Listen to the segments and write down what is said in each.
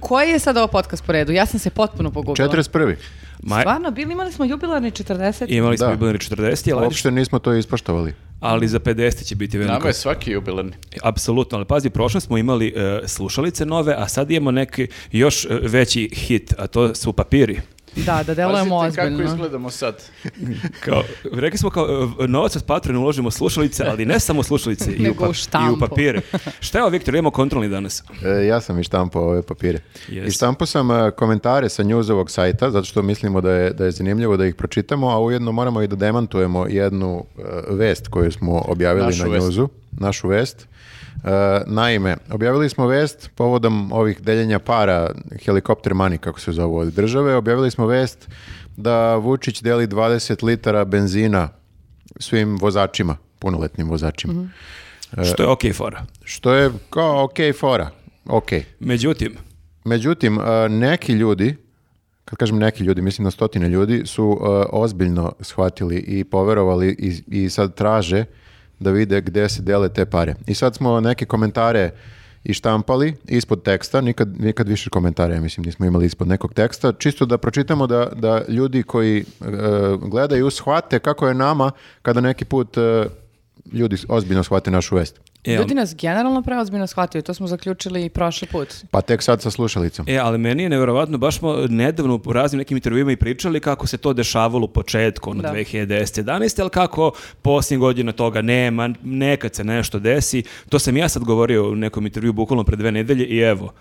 koji je sad ovo podcast po redu? Ja sam se potpuno pogubila. 41. Ma, Stvarno, bili imali smo jubilarni 40. imali smo Da. jubilarni 40, ali, Uopšte nismo to ispoštovali. ali za 50 će biti veliko. Nama je svaki jubilarni. Apsolutno, ali pazi, prošle smo imali e, slušalice nove, a sad imamo neki još e, veći hit, a to su papiri. Da, da delujemo Pazite ozbiljno. kako izgledamo sad. Kao, rekli smo kao e, novac od Patreon uložimo u slušalice, ali ne samo u slušalice, i, u Nego u pa- i u štampu. papire. Šta je ovo, Viktor, imamo kontrolni danas? E, ja sam i štampao ove papire. Jesi. I štampao sam e, komentare sa newsovog sajta, zato što mislimo da je, da je zanimljivo da ih pročitamo, a ujedno moramo i da demantujemo jednu e, vest koju smo objavili Našu na vest. newsu. Našu vest. E, naime, objavili smo vest povodom ovih deljenja para, helikopter money, kako se zovu od države. Objavili smo vest da Vučić deli 20 litara benzina svim vozačima, punoletnim vozačima. Mhm. Što je okej fora. Što je kao ok fora. Okej. Međutim, Međutim, e, neki ljudi, kad kažem neki ljudi, mislim na stotine ljudi, su e, ozbiljno shvatili i poverovali i, i sad traže da vide gde se dele te pare. I sad smo neke komentare i štampali ispod teksta, nikad, nikad više komentare, ja mislim, nismo imali ispod nekog teksta, čisto da pročitamo da, da ljudi koji e, gledaju shvate kako je nama kada neki put e, ljudi ozbiljno shvate našu vest. e, Ljudi nas generalno preozbiljno shvataju, to smo zaključili i prošli put. Pa tek sad sa slušalicom. E, ali meni je nevjerovatno, baš smo nedavno u raznim nekim intervjuima i pričali kako se to dešavalo u početku, ono Da. 2010. 11. ali kako posljednjih godina toga nema, nekad se nešto desi. To sam ja sad govorio u nekom intervju bukvalno pre dve nedelje i evo.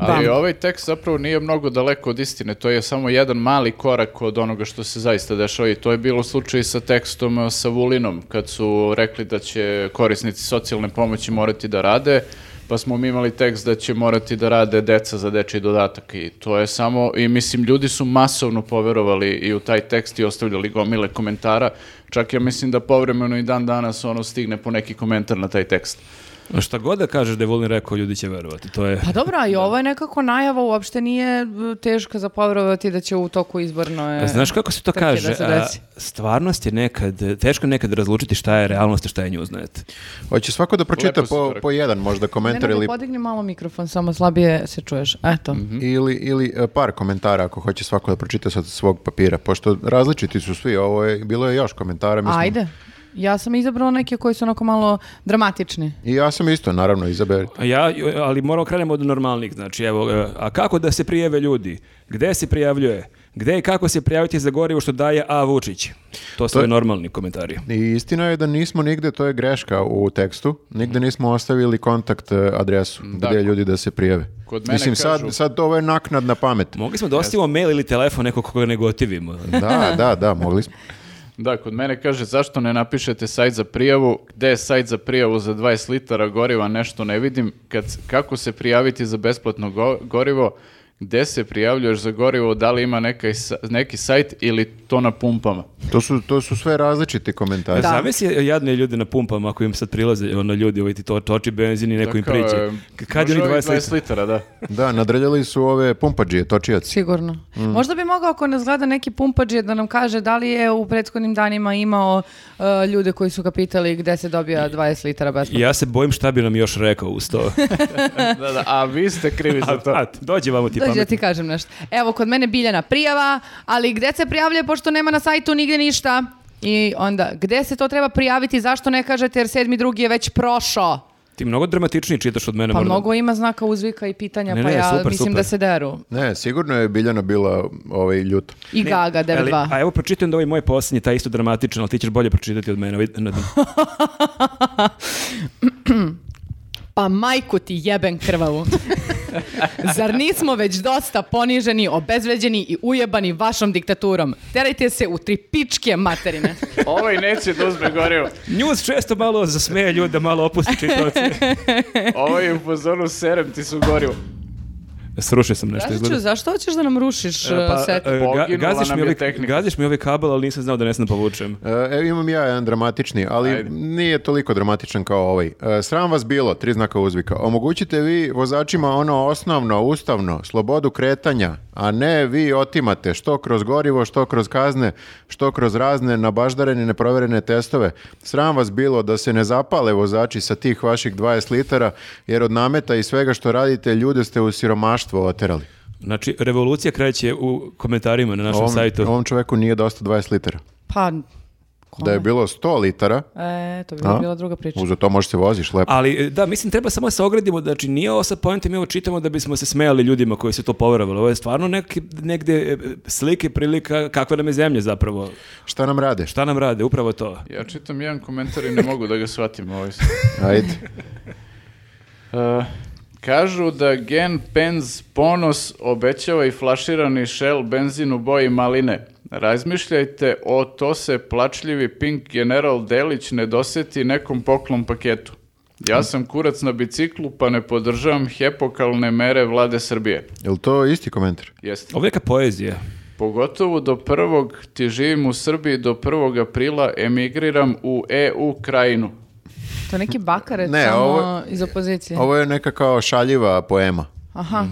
Ali Da. ovaj tekst zapravo nije mnogo daleko od istine, to je samo jedan mali korak od onoga što se zaista dešava i to je bilo slučaj sa tekstom e, sa Vulinom, kad su rekli da će korisnici socijalne pomoći morati da rade, pa smo mi imali tekst da će morati da rade deca za dečji dodatak i to je samo, i mislim, ljudi su masovno poverovali i u taj tekst i ostavljali gomile komentara, čak ja mislim da povremeno i dan danas ono stigne po neki komentar na taj tekst. Šta god da kažeš da je Vulin rekao, ljudi će verovati. To je... Pa dobro, a i ovo je nekako najava, uopšte nije b, teško za poverovati da će u toku izborno... e, Znaš kako se to trke kaže? Da se a, desi. stvarnost je nekad, teško je nekad razlučiti šta je realnost, a šta je newsnet. Hoće svako da pročita Lepo si to po, rekao. po jedan možda komentar Nenade, ili, podigni malo mikrofon, samo slabije se čuješ. Eto. Mhm, ili, ili e, par komentara ako hoće svako da pročita sa svog papira, pošto različiti su svi, ovo je, bilo je još komentara. Mislim. Ajde. Ja sam izabrala neke koji su onako malo dramatični. I ja sam isto, naravno, izaber. A Ja, ali moramo krenemo od normalnih, znači evo, e, a kako da se prijave ljudi? Gde se prijavljuje? Gde i kako se prijaviti za gorivo što daje A. Vučić? To su To- ovi normalni komentari. I istina je da nismo nigde, to je greška u tekstu, nigde nismo ostavili kontakt e, adresu Da. gde ljudi da se prijave. Kod mene Mislim, kažu- sad, sad ovo je naknadna pamet. Mogli smo da ostavimo mail ili telefon nekog koga ne gotivimo. Da, da, da, mogli smo. Da, kod mene kaže zašto ne napišete sajt za prijavu, gde je sajt za prijavu za 20 litara goriva, nešto ne vidim, kad, kako se prijaviti za besplatno go- gorivo, gde se prijavljuješ za gorivo, da li ima neka, sa- neki sajt ili to na pumpama. To su, to su sve različiti komentari. Da. Zamisli Znači, e, jadne ljude na pumpama ako im sad prilaze ono, ljudi ovaj ti to toči benzin i neko im Tako, priđe. e, K- Kad je može onih ovih 20 litara? litara, da. Da, nadrljali su ove pumpađije, točijaci. Sigurno. Mm. Možda bi mogao ako nas gleda neki pumpađe da nam kaže da li je u prethodnim danima imao e, ljude koji su ga pitali gde se dobija 20 litara besplatno. Ja se bojim šta bi nam još rekao uz to. da, da. A vi ste krivi a, za to. a, dođe vamo ti Dođi da pametni. ti kažem nešto. Evo, kod mene biljana prijava, ali gde se prijavljuje pošto nema na sajtu nigde ništa? I onda, gde se to treba prijaviti, zašto ne kažete jer sedmi drugi je već prošao? Ti mnogo dramatičnije čitaš od mene. Pa moram da- mnogo ima znaka uzvika i pitanja, Ne, pa ne, ja super, mislim super. da se deru. Ne, sigurno je Biljana bila ovaj, ljuta. I Ne, Gaga ali- 92. A evo pročitam da ovaj moj posljednji, taj isto dramatičan, ali ti ćeš bolje pročitati od mene. ovaj- na- Pa majku ti jeben krvavu. Zar nismo već dosta poniženi, obezvređeni i ujebani vašom diktaturom? Terajte se u tri pičke materine. Ovaj neće da uzme gorivo. News često malo zasmeje ljude, malo opusti čitavci. Ovaj je u pozoru serem ti su gorivo. Srušio sam nešto Tražit ću, izgleda. zašto hoćeš da nam rušiš E, uh, set? e, ga- Poginula gaziš, nam mi je ovaj, tehnika. gaziš mi ovaj kabel, ali nisam znao da ne znam da povučem. E, Evo imam ja jedan dramatični, ali Ajde. nije toliko dramatičan kao ovaj. E, Sram vas bilo, tri znaka uzvika. Omogućite vi vozačima ono osnovno, ustavno, slobodu kretanja, a ne vi otimate što kroz gorivo, što kroz kazne, što kroz razne nabaždarene, neproverene testove. Sram vas bilo da se ne zapale vozači sa tih vaših 20 litara, jer od nameta i svega što radite ljude ste u siromaštvo oterali. Znači, revolucija kreće u komentarima na našem Ovom, sajtu. ovom čoveku nije dosta 20 litara. Pa, Da je bilo 100 litara, E, to bi A? bila druga priča. uz Pa, to možeš se voziš lepo. Ali, e, da, mislim, treba samo da se ogradimo, znači nije ovo sa pojentem, mi ovo čitamo da bismo se smejali ljudima koji su to poverovali. Ovo je stvarno neki, negde e, slike, prilika kakva nam je zemlja zapravo. Šta nam rade? Šta nam rade, upravo to. Ja čitam jedan komentar i ne mogu da ga shvatim ovaj. sad. Ajde. E, kažu da Gen Pens Ponos obećava i flaširani Shell benzin u boji maline. Razmišljajte o to se plačljivi Pink General Delić ne doseti nekom poklon paketu. Ja sam kurac na biciklu pa ne podržavam hepokalne mere vlade Srbije. Jel to isti komentar? Jeste. Ovo je neka poezija. Pogotovo do prvog, ti živim u Srbiji, do 1. aprila emigriram u EU krajinu. To je neki bakarec Ne, samo ovo- iz opozicije. Ovo je neka kao šaljiva poema. Aha.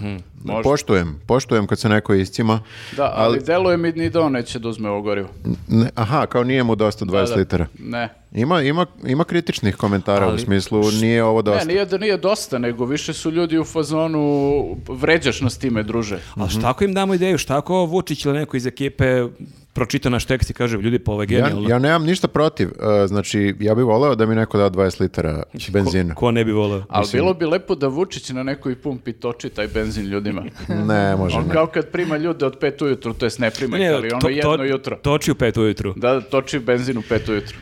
Može. Poštujem, poštujem kad se neko iscima. Da, ali, deluje mi ni da on neće da uzme ovo gorivo. Ne, aha, kao nije mu dosta 20 Da, da. litara. Ne. Ima, ima, ima kritičnih komentara u Ali- smislu nije ovo dosta. Ne, nije da nije dosta, nego više su ljudi u fazonu vređaš nas time, druže. Ali šta ako im damo ideju, šta ako Vučić ili neko iz ekipe pročita naš tekst i kaže, ljudi, pa ovo je ja, genijalno. ja nemam ništa protiv. e, znači, ja bih voleo da mi neko da 20 litara Znači, benzina. Ko, ko ne bi voleo? Ali bilo bi lepo da Vučić na nekoj pumpi toči taj benzin ljudima. Ne, može On ne. kao kad prima ljude od pet ujutru, to jest ne prima, ih, Ne, ali ono to- jedno to- jutro. Toči u pet ujutru. Da, da, toči benzin u pet ujutru.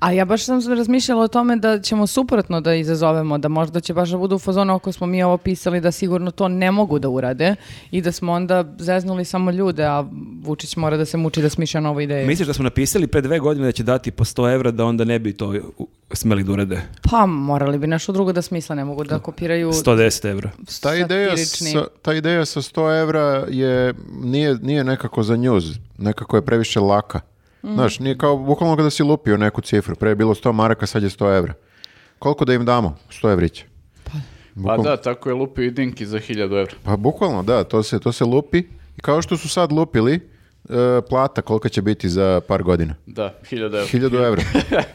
Pa A ja baš sam razmišljala o tome da ćemo suprotno da izazovemo, da možda će baš da budu u fazonu ako smo mi ovo pisali da sigurno to ne mogu da urade i da smo onda zeznuli samo ljude, a Vučić mora da se muči da smišlja novu ideju. Misliš da smo napisali pre dve godine da će dati po 100 evra da onda ne bi to u- smeli da urade? Pa morali bi nešto drugo da smisle, ne mogu da kopiraju 110 evra. Ta ideja, satirični. sa, ta ideja sa 100 evra je, nije, nije nekako za njuz, nekako je previše laka. Mhm. Znaš, nije kao bukvalno kada si lupio neku cifru. Pre je bilo 100 maraka, sad je 100 evra. Koliko da im damo? 100 evrića. Pa da, tako je lupio i Dinki za hiljadu evra. Pa bukvalno, da, to se, to se lupi. I kao što su sad lupili, e, plata kolika će biti za par godina? Da, hiljadu evra. 1000 evra.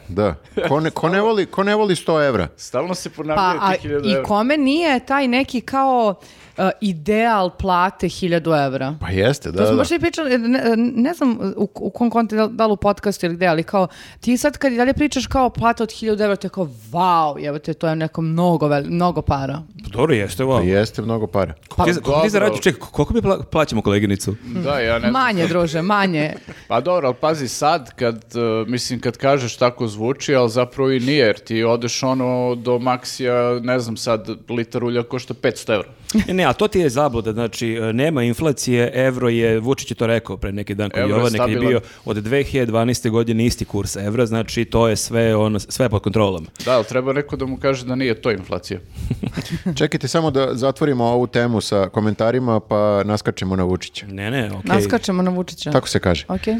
Da. Ko ne, ko ne voli, ko ne voli 100 evra? Stalno se Pa, ponavljaju a ti hiljadu i evra. kome nije taj neki kao uh, ideal plate 1000 evra? Pa jeste, da, to smo da. baš i pričali, ne, ne znam u, u kom konti, da, da li u podcastu ili gde, ali kao, ti sad kad i dalje pričaš kao plata od 1000 evra, to je kao, wow, jebote, to je neko mnogo, vel- mnogo para. Pa Dobro jeste, wow. Pa jeste mnogo para. Pa, ti, koliko dobro. ti zarađuješ? Čekaj, koliko mi pla- plaćamo koleginicu? Da, ja ne znam. Manje, druže, manje. Pa dobro, ali pazi sad, kad, e, mislim, kad kažeš tako zvuči, ali zapravo i nije, jer ti odeš ono do maksija, ne znam sad, litar ulja košta 500 evra. E, Ne, ne, a to ti je zabluda, znači e, nema inflacije, evro je, Vučić je to rekao pre neki dan kod Evro je Jovane, kad je stabilan. bio od 2012. godine isti kurs evra, znači to je sve, ono, sve pod kontrolom. Da, ali treba neko da mu kaže da nije to inflacija. Čekajte samo da zatvorimo ovu temu sa komentarima pa naskačemo na Vučića. Ne, ne, okej. Naskačemo na Vučića. Tako se kaže. Ok. E,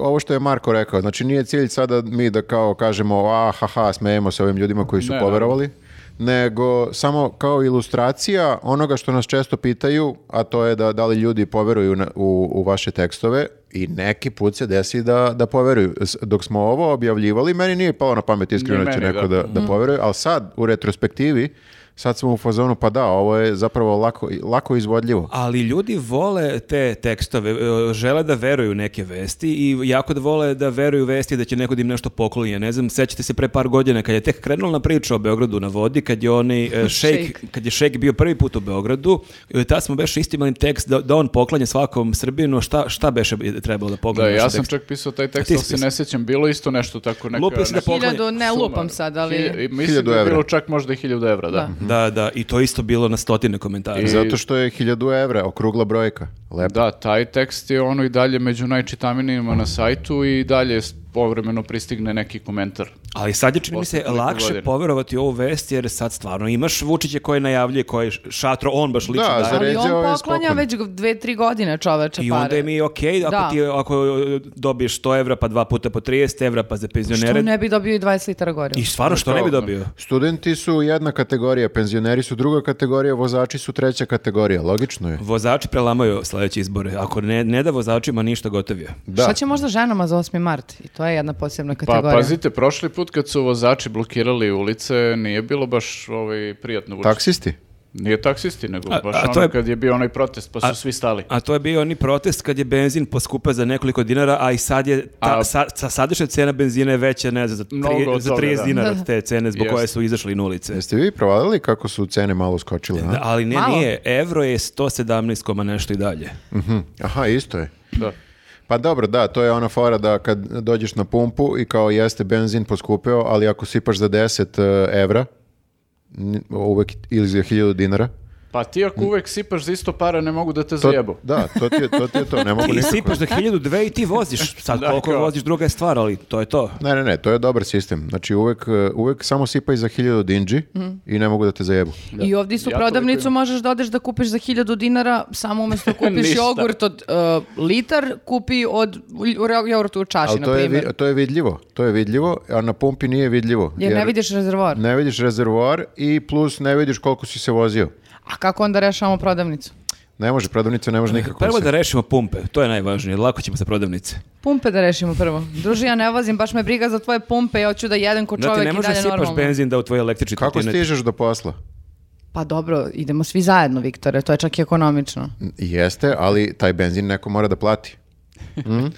ovo što je Marko rekao, znači nije cilj sada mi da kao kažemo a ha ha smejemo se ovim ljudima koji su Ne, poverovali, nego samo kao ilustracija onoga što nas često pitaju, a to je da, da li ljudi poveruju na- u, u vaše tekstove i neki put se desi da, da poveruju. S- Dok smo ovo objavljivali, meni nije palo na pamet iskreno Ni da će meni, neko da. da, da poveruje, ali sad u retrospektivi sad smo u fazonu, pa da, ovo je zapravo lako, lako izvodljivo. Ali ljudi vole te tekstove, e, žele da veruju u neke vesti i jako da vole da veruju u vesti da će neko da im nešto pokloni. Ja ne znam, sećate se pre par godina kad je tek krenula priča o Beogradu na vodi, kad je onaj e, šejk, Šejk. kad je šejk bio prvi put u Beogradu, e, tad smo beše isto imali tekst da, da on poklanja svakom Srbinu, šta, šta beše bi trebalo da Da, poklanja? ja naš sam tekst? čak pisao taj A tekst, ti ali si se pisao? ne sjećam, bilo je isto nešto tako neka... Lupio si da neka poklanja. Hiljadu, ne suma. lupam sad, ali... Hilj- Mislim Hiljadu da je evra. bilo čak možda i hiljadu evra, da. Da, da, i to isto bilo na stotine komentara. I- Zato što je 1000 evra, okrugla brojka. Lepo. Da, taj tekst je ono i dalje među najčitaminijima na sajtu i dalje povremeno pristigne neki komentar. Ali sad je čini mi se Posle koliko lakše godina? poverovati u ovu vest jer sad stvarno imaš Vučića koji najavljuje, koji š- šatro, on baš lično Da, daje. za Ali Ređao on je poklanja spokojan. već dve, tri godine čoveče pare. I onda je mi okej Da. ako, ti, ako e, dobiješ 100 evra, pa dva puta po 30 evra, pa za Što penzionere. ne bi dobio i 20 litara goriva? I stvarno, što ne bi dobio? Studenti su jedna kategorija, penzioneri su druga kategorija, vozači su treća kategorija, logično je. Vozači prelamaju sledeće izbore. Ako ne, ne da vozačima ništa gotovije. Da. Šta će možda ženama za 8. mart? I to je jedna posebna E, Pa kategorija. pazite, prošli put kad su vozači blokirali ulice, nije bilo baš ovaj, prijatno vući. Taksisti? Nije taksisti, nego A- baš a to ono je- kad je bio onaj protest, pa su svi stali. A to je bio oni protest kad je benzin poskupa za nekoliko dinara, a i sad je, ta, A- sa, sa sadašnja cena benzina je veća, ne znam, za, tri- Mnogo od za toga, 30 da. dinara Da. od te cene zbog Jeste. koje su izašli na ulice. Jeste vi provalili kako su cene malo skočile? a? Da, ali ne, Malo. nije. Evro je 117, koma nešto i dalje. Mhm. Aha, isto je. Da. Pa dobro, da, to je ona fora da kad dođeš na pumpu i kao jeste benzin poskupeo, ali ako sipaš za 10 e, evra, n- uvek ili za 1000 dinara, Pa ti ako uvek sipaš za isto para, ne mogu da te to, zajebu. da, to ti je to, ti je to. ne mogu Ti nikako. sipaš za 1000, dve i ti voziš. Sad Da, koliko kao. voziš druga je stvar, ali to je to. Ne, ne, ne, to je dobar sistem. Znači uvek, e, uvek samo sipaj za 1000 dinđi Mhm. i ne mogu da te zajebu. I ovdje su Ja toliko prodavnicu imam. možeš da odeš da kupiš za 1000 dinara, samo umjesto da kupiš Ništa. jogurt od e, litar, kupi od u- jogurta u čaši, Ali na to je, primjer. vi- to je vidljivo, to je vidljivo, a na pumpi nije vidljivo. Jer, ne vidiš rezervoar. ne vidiš rezervoar i plus ne vidiš koliko si se vozio. A kako onda rešavamo prodavnicu? Ne može, prodavnica ne može nikako. Prvo se- da rešimo pumpe, to je najvažnije. Lako ćemo sa prodavnice. Pumpe da rešimo prvo. Druži, ja ne vozim, baš me briga za tvoje pumpe, ja hoću da jedem ko Znači, Pa čovjek ne i možeš da dalje sipaš normalno. benzin da u tvoj električni Kako trotinet- stižeš do posla? Pa dobro, idemo svi zajedno, Viktore, to je čak i ekonomično. Jeste, ali taj benzin neko mora da plati.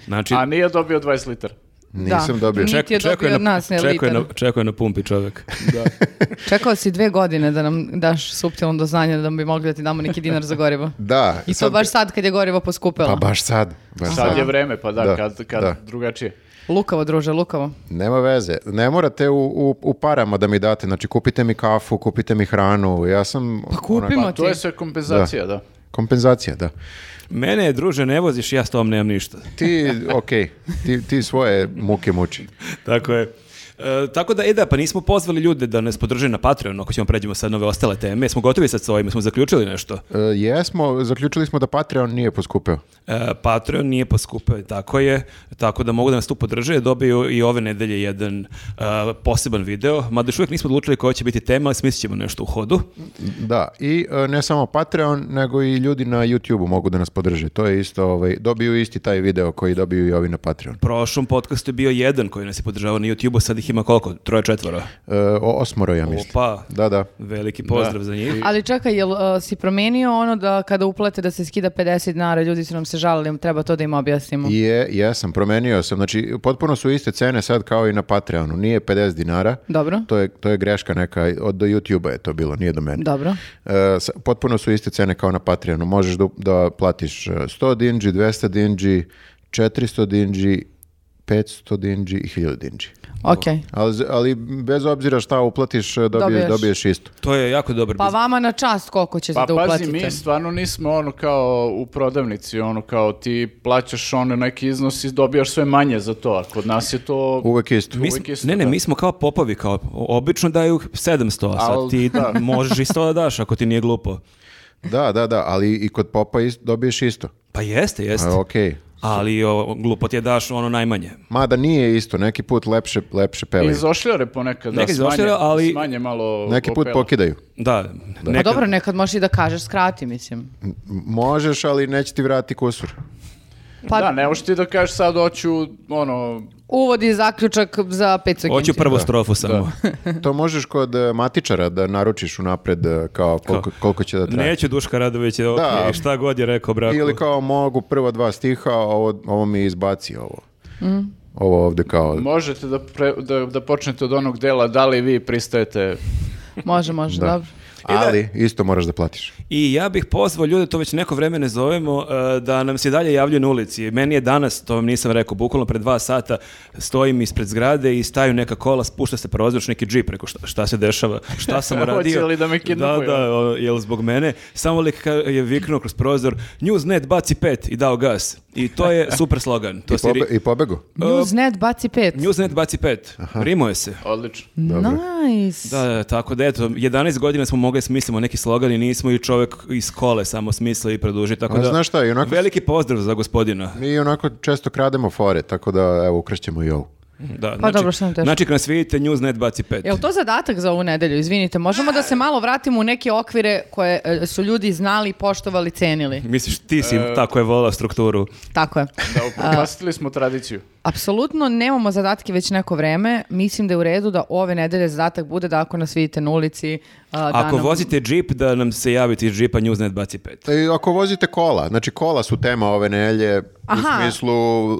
Znači, A nije dobio 20 litara. Nisam Da. dobio. Ni- niti je dobio od nas, ne, čekao je na, litar. čekao je na pumpi čovjek. Čekao si dve godine da nam daš suptilno do znanja da bi mogli da ti damo neki dinar za gorivo. Da. I to baš sad kad je gorivo poskupilo. Pa baš sad. Baš sad. Sad je vreme, pa da, Da, kad, kad da. drugačije. Lukavo, druže, lukavo. Nema veze. Ne morate u, u, u parama da mi date. Znači, kupite mi kafu, kupite mi hranu. Ja sam... Pa kupimo onako- ti. Ono, To je sve kompenzacija, da. Kompenzacija, da. Mene je, druže, ne voziš, ja s tom nemam ništa. Ti, okej, ti, ti svoje muke muči. Tako je. E, tako da, e da, pa nismo pozvali ljude da nas podrže na Patreon, ako ćemo pređemo sad na ove ostale teme. Jesmo gotovi sad s ovim, smo zaključili nešto. E, jesmo, zaključili smo da Patreon nije poskupeo. E, Patreon nije poskupio, tako je, tako da mogu da nas tu podrže, dobiju i ove nedelje jedan e, poseban video, mada još uvijek nismo odlučili koja će biti tema, ali smislit ćemo nešto u hodu. Da, i e, ne samo Patreon, nego i ljudi na YouTube-u mogu da nas podrže. To je isto, ovaj, dobiju isti taj video koji dobiju i ovi na Patreon. Prošlom podcastu je bio jedan koji nas je podržavao na YouTube-u, sad ih ima koliko? Troje, četvora? E, o, osmoro, ja mislim. Opa, Da, da. veliki pozdrav za njih. Ali čekaj, jel uh, si promijenio ono da kada uplate da se skida 50 dinara, ljudi su nam se žalili, treba to da im objasnimo. Je, jesam, promenio sam. Znači, potpuno su iste cene sad kao i na Patreonu. Nije 50 dinara. Dobro. To je, to je greška neka, od do YouTube-a je to bilo, nije do mene. Dobro. E, sa- potpuno su iste cene kao na Patreonu. Možeš da, da platiš e, 100 dinđi, 200 dinđi, 400 dinđi, 500 dinđi i 1000 dinđi. Ok. Ali, z- ali bez obzira šta uplatiš, e, dobiješ, Dobiješ. dobiješ. isto. To je jako dobar Pa biznis. vama na čast koliko ćete Pa da pazi, uplatite. mi stvarno nismo ono kao u prodavnici, ono kao ti plaćaš ono neki iznos i dobijaš sve manje za to, a kod nas je to... Uvek isto. Mi Uvijek smo- isto, ne, ne, da. mi smo kao popovi, kao obično daju 700, a sad Al, ti da. možeš i 100 da daš ako ti nije glupo. Da, da, da, ali i kod popa is- dobiješ isto. Pa jeste, jeste. E, okej. Ali o, glupo ti je daš ono najmanje. Mada nije isto, neki put lepše, lepše pevaju. I zošljare ponekad, da, Nekad smanje, izošljare, ali- smanje malo Neki put opela. pokidaju. Da, Pa nekad- dobro, nekad možeš i da kažeš, skrati, mislim. M- Možeš, ali neće ti vrati kusur. Pa Da, ne možeš ti da kažeš sad hoću, ono, uvod i zaključak za 5 sekundi. Hoću prvo strofu samo. To možeš kod e, matičara da naručiš unapred e, kao koliko, koliko će da traje. Neću Duška Radović, ok, Da. šta god je rekao braku. Ili kao mogu prva dva stiha, a ovo, ovo mi izbaci ovo. Ovo ovde kao... možete da, pre- da, da počnete od onog dela da li vi pristajete. Može, može, Da. dobro. Ali isto moraš da platiš. I ja bih pozvao ljude, to već neko vreme ne zovemo, e, da nam se i dalje javljaju na ulici. Meni je danas, to vam nisam rekao, bukvalno pred dva sata stojim ispred zgrade i staju neka kola, spušta se prozor, neki džip, rekao šta, šta se dešava, šta sam Hoće radio. li da me kidnapuju? Da, da, o, jel zbog mene. Samo lik ka- je viknuo kroz prozor, Newsnet baci pet i dao gas. I to je super slogan. To I, se ri- pobe- i pobegu. E, Newsnet baci 5. Newsnet baci pet. Rimuje se. Odlično. Nice. Da, da, tako da eto, 11 godina smo mogli smislimo neki slogan i nismo i čovjek iz kole samo smisli i produži, tako A da... Pa znaš šta, i onako- Veliki pozdrav za gospodina. Mi onako često krademo fore, tako da evo ukršćemo i ovo. Da, pa dobro, šta nam teško? Znači, kad nas vidite, Newsnet baci pet. Jel to zadatak za ovu nedelju, izvinite? Možemo da se malo vratimo u neke okvire koje e, su ljudi znali, poštovali, cenili. E- Misliš, ti si tako je volao strukturu. Tako je. Da, upropastili smo tradiciju. Apsolutno nemamo zadatke već neko vreme. Mislim da je u redu da ove nedelje zadatak bude da ako nas vidite na ulici... a, Pa da Ako nam- vozite džip, da nam se javite iz džipa Newsnet baci pet. E, ako vozite kola, znači kola su tema ove nelje Aha. u smislu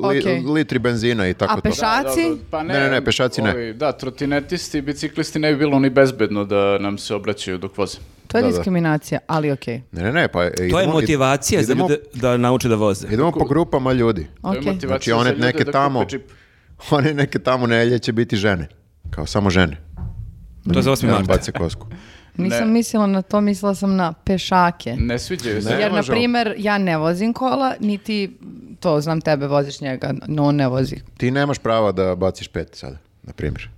li- Okej. litri benzina i tako A to. pešaci? Dobro, pa Ne, ne, ne, pešaci ne. ovi, da, trotinetisti i biciklisti ne bi bilo ni bezbedno da nam se obraćaju dok voze. To je Da, da. diskriminacija, ali okej. Ne, ne, ne, pa e, idemo, To je motivacija za idemo, ljude da nauče da voze. idemo po grupama ljudi. To je Okej. motivacija Znači, one za ljude neke da kupe tamo. džip. One neke tamo nelje će biti žene. Kao samo žene. To je za 8. Ja marta. bace kosku. Nisam Ne. mislila na to, mislila sam na pešake. Ne sviđaju se. Ne. Jer, na možemo. primjer, ja ne vozim kola, niti to znam tebe, voziš njega, no on ne vozi. Ti nemaš prava da baciš pet sada, na primjer.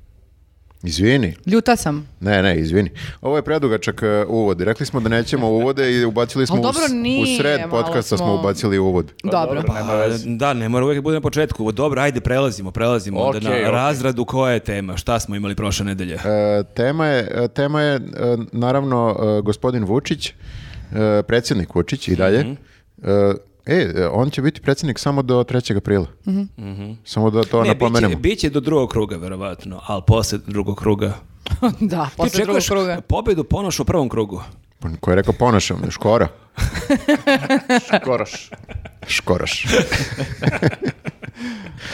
Izvini. Ljuta sam. Ne, ne, izvini. Ovo je predugačak e, uvod. Rekli smo da nećemo uvode i ubacili smo Ali dobro, u, s- u nije, sred malo podcasta smo... smo- ubacili uvod. Pa Dobro. dobro, nema veze. Da, ne mora uvijek da bude na početku. Dobro, ajde, prelazimo, prelazimo onda Okej, na okej. razradu koja je tema, šta smo imali prošle nedelje. E, tema je, e, tema je e, naravno e, gospodin Vučić, e, predsjednik Vučić i dalje. E, e, on će biti predsjednik samo do 3. aprila. Mhm. Samo da to Ne, biće, napomenemo. biće do drugog kruga, verovatno, ali posle drugog kruga. da, Ti posle drugog čekaš kruga. pobedu ponoš u prvom krugu. Ko je rekao ponašam, škora. Koroš. Škoraš.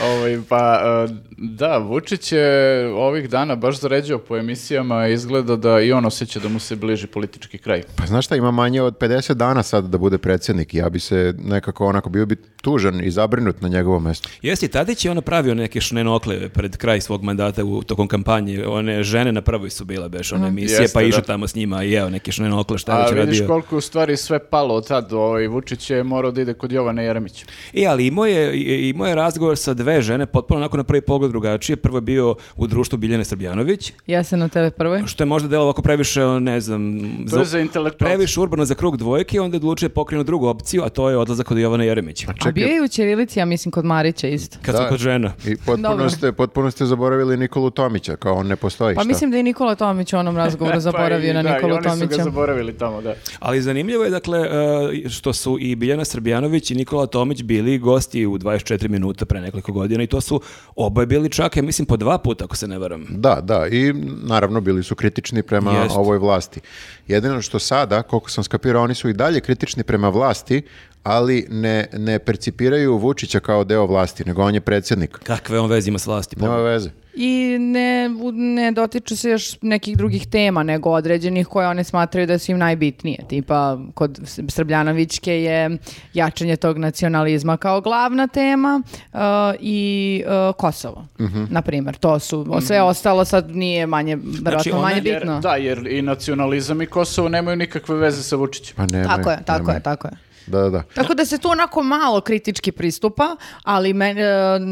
Ovaj, pa, e, da, Vučić je ovih dana baš zaređao po emisijama, izgleda da i on osjeća da mu se bliži politički kraj. Pa znaš šta, ima manje od 50 dana sad da bude predsjednik. Ja bi se nekako onako bio bi tužan i zabrinut na njegovom mjestu. Jesi, Tadić je ono pravio neke šnenokle pred kraj svog mandata u tokom kampanje. One žene na prvoj su bile beš one emisije, Jeste, pa da. išao tamo s njima i jeo neke šnenokle, šta je A već vidiš radio. koliko je u stvari sve palo od tad. Ovaj, Vučić je morao da ide kod Jovana Jeremića. E, ali imao je, i- imao je razgovor sa dve žene, potpuno onako na prvi pogled drugačije. Prvo je bio u društvu Biljane Srbljanović, Ja sam na tebe prvoj. što je možda delo ovako previše, ne znam, To je za intelektualce. previše urbano za krug dvojke, onda je odlučio pokrenu drugu opciju, a to je odlazak od Jovana Pa Jeremića. A bio je u Ćirilici, ja mislim, kod Marića isto. Kad smo Da. kod žena. I potpuno Dobro. ste, potpuno ste zaboravili Nikolu Tomića, kao on ne postoji. Pa šta? mislim da je Nikola Tomić u onom razgovoru zaboravio Pa i- na Nikolu Da, i oni su ga Tomića. Pa zaboravili tamo, da. Ali zanimljivo je, dakle, e, što su i Biljana Srbljanović i Nikola Tomić bili gosti u 24 minuta pre nekoliko godina i to su oboje bili čak, ja mislim, po dva puta, ako se ne varam. Da, da, i naravno bili su kritični prema Jest. ovoj vlasti. Jedino što sada, koliko sam skapirao, oni su i dalje kritični prema vlasti, ali ne, ne percipiraju Vučića kao deo vlasti, nego on je predsjednik. Kakve on veze ima s vlasti? Nema veze. I ne, u- ne dotiču se još nekih drugih tema, nego određenih koje one smatraju da su im najbitnije. Tipa, kod S- Srbljanovićke je jačanje tog nacionalizma kao glavna tema uh, i uh, Kosovo, Mhm. na primjer. To su, o, sve ostalo sad nije manje, verovatno Znači, ona manje Jer, bitno. da, jer i nacionalizam i Kosovo nemaju nikakve veze sa Vučićem. Pa nemaju, Tako je, tako nemaju. je, tako je. Da, da, da. Tako da se tu onako malo kritički pristupa, ali men- e, n-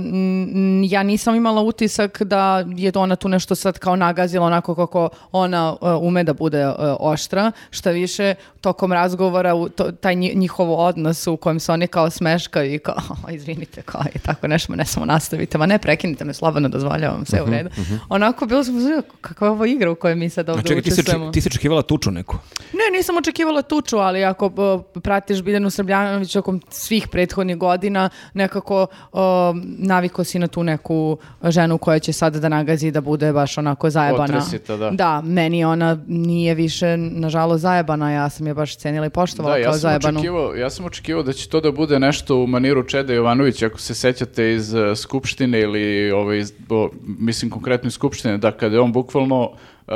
n- ja nisam imala utisak da je ona tu nešto sad kao nagazila onako kako ona e, ume da bude e, oštra, šta više tokom razgovora u to- taj nji- njihov odnos u kojem se oni kao smeškaju i kao "O, izvinite kao i tako nešto, ne samo nastavite, ma ne prekinite me slobodno, dozvoljavam sve u Mhm, redu. Onako bilo sam uzio kakva je ovo igra u kojoj mi sad ovdje Pa, Čekaj, ti si, učestvujemo. oči- ti si očekivala tuču neku. Ne, nisam očekivala tuču, ali ako b- pratiš Biljanu Srbljanović tokom svih prethodnih godina, nekako o, naviko si na tu neku ženu koja će sada da nagazi da bude baš onako zajebana. Otresita, da. meni ona nije više, nažalost, zajebana. Ja sam je baš cenila i poštovala Da, ja kao sam, zajebanu. očekivao, ja sam očekivao da će to da bude nešto u maniru Čeda Jovanovića, ako se sećate iz eh, Skupštine ili, ovaj, iz, bo- mislim konkretno iz Skupštine, da kada je on bukvalno eh,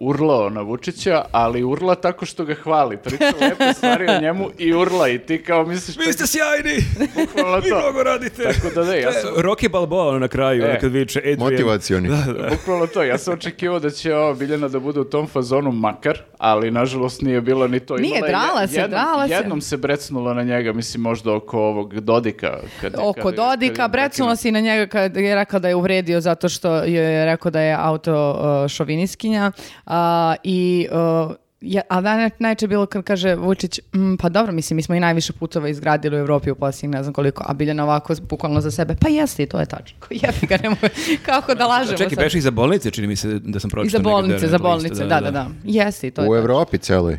urlao na Vučića, ali urla tako što ga hvali. Priča lepe stvari o njemu i urla i ti kao misliš Vi ste sjajni! bukvalno Vi to. mnogo radite! Tako da da, ja sam- To je Rocky Balboa ono na kraju, E. ono kad viče Adrian. Motivacioni. Bukvalno to, ja sam očekivao da će ova Biljana da bude u tom fazonu makar, ali nažalost nije bilo ni to. Nije, Imala je drala je- se, drala se. Jednom se brecnula na njega, mislim možda oko ovog Dodika. Kad, Oko kad- kad je Dodika, brecnula prekinuo. si na njega kad je rekla da je uvredio zato što joj je rekao da je auto uh, šoviniskinja a, i... uh, ja, a da, naj- najče bilo kad kaže Vučić, "Mm, pa dobro, mislim, mi smo i najviše putova izgradili u Evropi u posljednjih ne znam koliko, a Biljana ovako bukvalno za sebe, pa jeste i to je tačno. Ko Jebi ga, nemoj, kako da lažemo Čekaj, sad. beše i za bolnice, čini mi se da sam I za pročitao. negde da je bolnice, za rekla isto, bolnice, da, da, da. Jeste i to je U tačno. Evropi celoj.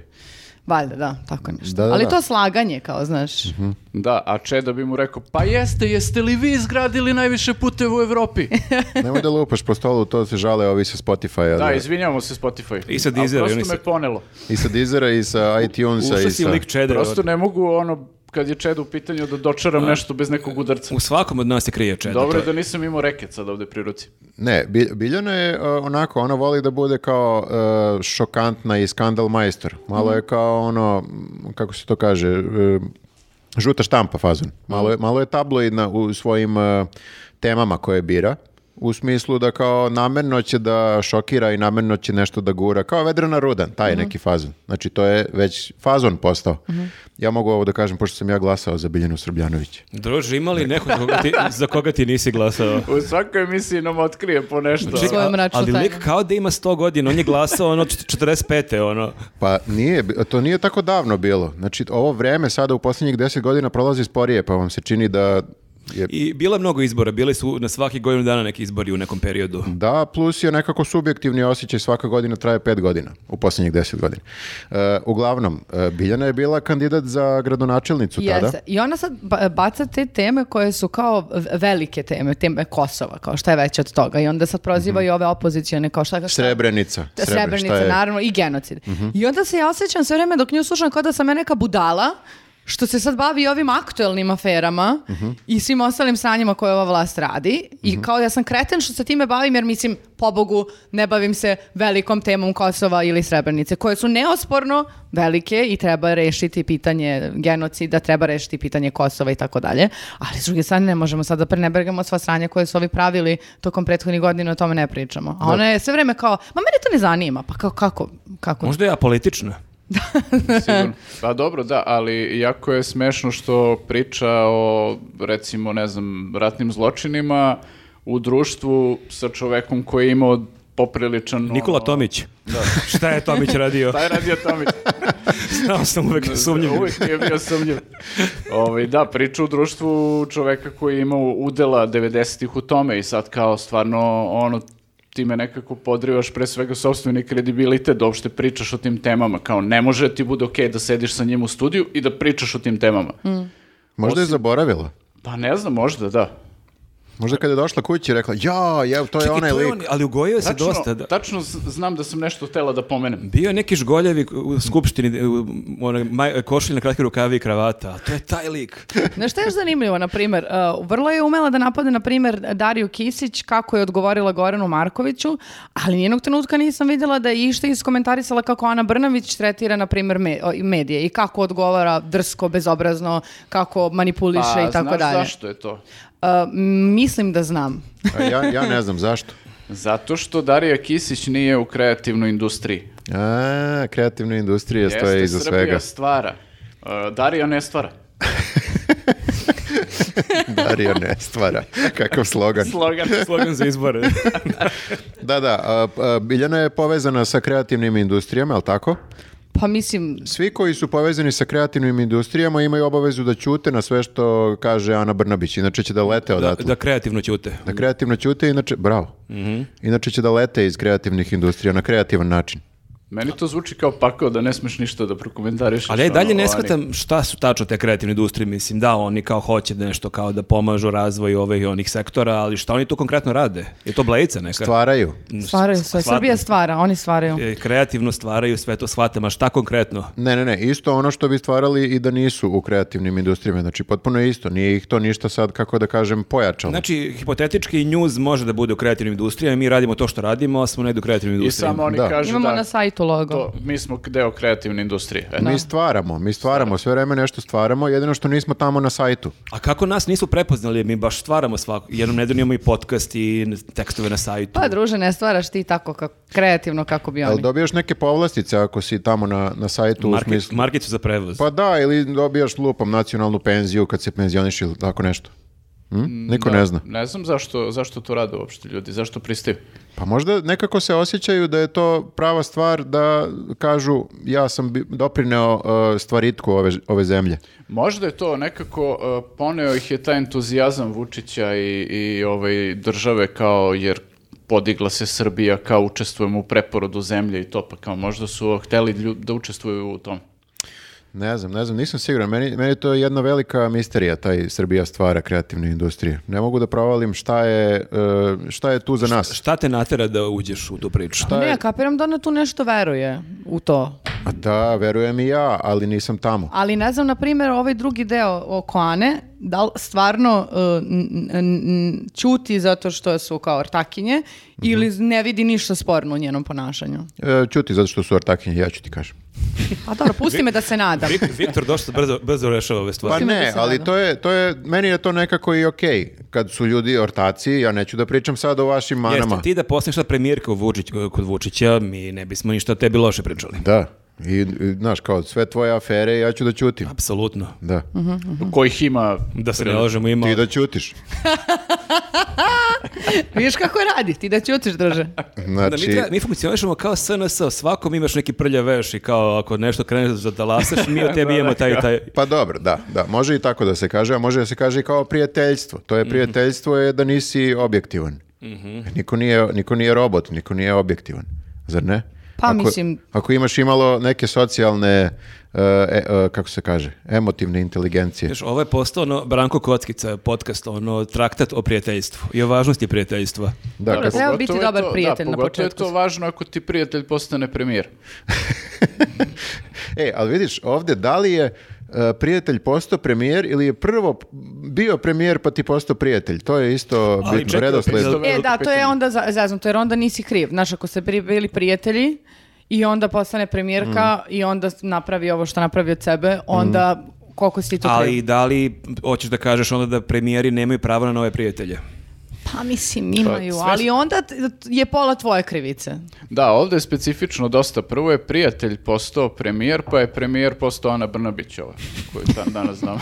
Valjda, da, tako nešto. Da, da, Ali da. Mhm. to slaganje, kao, znaš. Da, a Čeda bi mu rekao, pa jeste, jeste li vi izgradili najviše puteva u Evropi? Nemoj da lupaš po stolu, to se žale ovi sa Spotify-a. da, izvinjavamo se Spotify. I sa Ali Deezera, i oni Prosto sa- me ponelo. I sa Deezera i sa iTunesa Ušao i si sa... lik čedera. Prosto ne mogu ono, kad je Čeda u pitanju, da dočaram nešto bez nekog udarca. U svakom od nas je krije čedar. Dobro je to da nisam imao reket sad ovde pri ruci. Ne, Bi- Biljana je uh, onako, ona voli da bude kao uh, šokantna i skandal majstor. Malo je kao ono, m, kako se to kaže, uh, žuta štampa fazon. Malo je, malo je tabloidna u svojim uh, temama koje bira. U smislu da kao namerno će da šokira i namerno će nešto da gura. Kao Vedrana Rudan, taj je neki fazon. Znači to je već fazon postao. Ja mogu ovo da kažem, pošto sam ja glasao za Biljanu Srbljanovića. Druže, ima li neko za koga ti, za koga ti nisi glasao? U svakoj emisiji nam otkrije po nešto. Čekaj, Svoju a- mračnu ali lik tajnu. kao da ima 100 godina, on je glasao ono čet- 45. ono. Pa nije, bi- to nije tako davno bilo. Znači, ovo vreme sada u posljednjih deset godina prolazi sporije, pa vam se čini da je... I bilo je mnogo izbora, bili su na svaki godinu dana neki izbori u nekom periodu. Da, plus je nekako subjektivni osjećaj svaka godina traje pet godina, u posljednjih deset godina. E, uglavnom, e, Biljana je bila kandidat za gradonačelnicu tada. Jeste. I ona sad ba- baca te teme koje su kao v- velike teme, teme Kosova, kao šta je veće od toga. I onda sad proziva i ove opozicione, kao šta... šta Srebrenica. Ta Srebre- Mhm. šta Srebrenica, je? Mhm. naravno, i genocid. I onda se ja osjećam sve vreme dok nju slušam kao da sam ja neka budala, što se sad bavi ovim aktuelnim aferama Mhm. i svim ostalim sranjima koje ova vlast radi. I kao da sam kreten što se time bavim, jer mislim, pobogu, ne bavim se velikom temom Kosova ili Srebrenice, koje su neosporno velike i treba rešiti pitanje genocida, treba rešiti pitanje Kosova i tako dalje. Ali s druge strane, ne možemo sad da prenebregamo sva sranja koje su ovi pravili tokom prethodnih godina, o tome ne pričamo. A ona je sve vreme kao, ma mene to ne zanima, pa kao, kako, kako? Možda je apolitična. Sigurno. Pa dobro, da, ali jako je smešno što priča o, recimo, ne znam, ratnim zločinima u društvu sa čovekom koji je imao popriličan... Nikola ono, Tomić. Šta je Tomić radio? Šta je radio Tomić? Znao sam uvek sumnjiv. Uvijek nije bio sumnjiv. Ovaj, da, priča u društvu čoveka koji je imao udela 90-ih u tome i sad kao stvarno ono time nekako podrivaš pre svega sobstveni kredibilitet da uopšte pričaš o tim temama. Kao ne može ti bude okej da sediš sa njim u studiju i da pričaš o tim temama. Možda je zaboravila. Pa ne znam, možda da. Možda kada je došla kući i rekla, ja, ja, to je Čekaj, onaj to je lik. on, ali ugojio se Tačno, dosta. Da. tačno z- znam da sam nešto htela da pomenem. Bio je neki žgoljevi u skupštini, u onoj maj- košulji na kratke rukavi i kravata. A to je taj lik. Znaš što je još zanimljivo, na primjer, uh, vrlo je umela da napade, na primjer, Dariju Kisić kako je odgovorila Goranu Markoviću, ali nijednog trenutka nisam vidjela da je išta iskomentarisala kako Ana Brnavić tretira, na primjer, me- o- medije i kako odgovara drsko, bezobrazno, kako manipuliše Pa, i tako znaš dalje. zašto je to? Uh, mislim da znam. A Ja, ja ne znam zašto. Zato što Darija Kisić nije u kreativnoj industriji. A, kreativna industrija stoje iza Srbija svega. stvara. Uh, Darija ne stvara. Dario ne stvara. Kakav slogan. Slogan. Slogan za izbore. Da, da, a, a, Biljana je povezana sa kreativnim industrijama, jel tako? Pa mislim, Svi koji su povezani sa kreativnim industrijama imaju obavezu da ćute na sve što kaže Ana Brnabić, inače će da lete da, odatle. Da, da kreativno ćute. kreativno ćute, inače, bravo. Inače će da lete iz kreativnih industrija na kreativan način. Meni to zvuči kao pakao da ne smeš ništa da prokomentarišeš. Ali ja i dalje ono, ne oni- shvatam šta su tačno te kreativne industrije, mislim da oni kao hoće nešto kao da pomažu razvoju ove i onih sektora, ali šta oni tu konkretno rade? Je to blejica neka? Stvaraju. stvaraju sve. Shvatam. Srbija stvara, oni stvaraju. E, Kreativno stvaraju, sve to shvatam, a šta konkretno? Ne, ne, ne, isto ono što bi stvarali i da nisu u kreativnim industrijama, znači potpuno je isto, nije ih to ništa sad, kako da kažem, pojačalo. Znači, hipotetički news može da bude u kreativnim industrijama, mi radimo to što radimo, a smo negdje u kreativnim I industrijama. samo oni Da. kažu Imamo da, na sajtu logo. to, mi smo deo kreativne industrije. E, Mi stvaramo, mi stvaramo, sve vreme nešto stvaramo, jedino što nismo tamo na sajtu. A kako nas nisu prepoznali, mi baš stvaramo svako, jednom nedeljno imamo i podcast i tekstove na sajtu. Pa druže, ne stvaraš ti tako kako, kreativno kako bi Ali oni. dobijaš neke povlastice ako si tamo na, na sajtu u Market- smislu... markicu za prevoz. Pa da, ili dobijaš lupom nacionalnu penziju kad se penzioniš ili tako nešto. Hm? Mm, Niko ne zna. Ne znam zašto, zašto to rade uopšte ljudi, zašto pristaju. Pa možda nekako se osjećaju da je to prava stvar da kažu ja sam bi- doprineo uh, stvaritku ove, ove zemlje. Možda je to nekako, uh, poneo ih je taj entuzijazam Vučića i, i ovaj, države kao, jer podigla se Srbija kao učestvujemo u preporodu zemlje i to, pa kao možda su hteli lju- da učestvuju u tom. Ne znam, ne znam, nisam siguran. Meni, meni to je jedna velika misterija, taj Srbija stvara kreativne industrije. Ne mogu da provalim šta je, e, šta je tu za nas. Šta te natera da uđeš u tu priču? Šta Ne, je- ja kapiram da ona tu nešto veruje u to. A da, verujem i ja, ali nisam tamo. Ali ne znam, na primjer, ovaj drugi deo oko Ane, da li stvarno uh, n- n- n- ćuti zato što su kao ortakinje ili ne vidi ništa sporno u njenom ponašanju? E, čuti, zato što su ortakinje, ja ću ti kažem. A E, pa dobro, pusti me da se nadam. Vik- Viktor dosta brzo, brzo rešava ove Pa stvari. Pusti me ne, da se ali nadam. to je, to je, meni je to nekako i okej. Kad su ljudi ortaci, ja neću da pričam sad o vašim manama. Pa, Jeste, ti da postaneš ta premijerka u Vučić, kod Vučića, mi ne bismo ništa o tebi loše pričali. Da, I, i, znaš, kao sve tvoje afere, ja ću da ćutim. Apsolutno. Da, Mhm. Mhm. Kojih ima... Da se ne lažemo, ima... ti da ćutiš. Vidiš kako radi, ti da ćutiš drže. Da, mi, Znači, treba- mi funkcionišemo kao SNS, svakom imaš neki prljav veš i kao ako nešto kreneš da dalasaš, mi od tebi imamo taj, taj... pa dobro, da, da, može i tako da se kaže, a može da se kaže i kao prijateljstvo. To je prijateljstvo je da nisi objektivan. Niko, nije, niko nije robot, niko nije objektivan. Zar ne? Pa, mislim- Ako imaš imalo neke socijalne, e, e, e, kako se kaže, emotivne inteligencije. Znaš, ovo je postao ono, Branko Kockica, podcast, ono, traktat o prijateljstvu i o važnosti prijateljstva. Da, Treba kad, Pogotovo biti je dobar to- da, prijatelj na pogotovo početku. je to važno ako ti prijatelj postane premijer. e, ali vidiš, ovde da li je e, prijatelj postao premijer ili je prvo bio premijer pa ti postao prijatelj. To je isto Ali bitno čekaj, redosled. jel- E, Veliko da, to je pitanje. onda za- zeznuto, jer onda nisi kriv. Znaš, ako se pri- bili prijatelji i onda postane premijerka i onda napravi ovo što napravi od sebe, onda koliko si ti to Ali kriv? da li hoćeš da kažeš onda da premijeri nemaju pravo na nove prijatelje? Pa mislim, imaju, sve- ali onda t- je pola tvoje krivice. Da, ovdje je specifično dosta. Prvo je prijatelj postao premijer, pa je premijer postao Ana Brnabićova, koju dan danas znamo.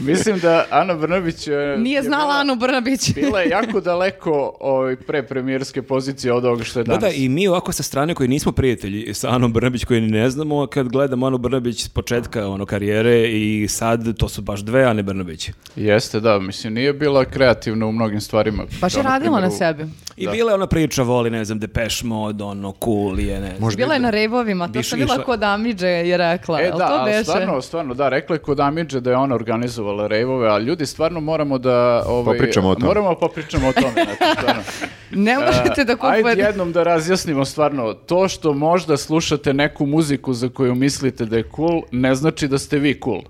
Mislim da Ana Brnabić... e, Nije je znala bila- Anu Brnabić. Bila je jako daleko ovaj, pre premijerske pozicije od ovoga što je Da, danas. da, i mi ovako sa strane koji nismo prijatelji sa Anom Brnabić koji ni ne znamo, kad gledamo Anu Brnabić s početka ono, karijere i sad to su baš dve Ane Brnabić. Jeste, da, mislim, nije bila kreativna u mnogim stvarima. Ono, Baš je Kao, radila Pa na primjer, u- sebi. I bila je ona priča, voli, ne znam, Depeche Mode, ono, cool je, ne znam. Bila je na rejvovima, to Biš- sam bila išla- kod Amidže je rekla. E jel da, to ali beše? stvarno, stvarno, da, rekla je kod Amidže da je ona organizovala rejvove, a ljudi stvarno moramo da... Ovaj, Popričamo o tome. Moramo da popričamo o tome, znači, stvarno. Ne možete da Ajde kupujete. jednom da razjasnimo stvarno, to što možda slušate neku muziku za koju mislite da je cool, ne znači da ste vi cool.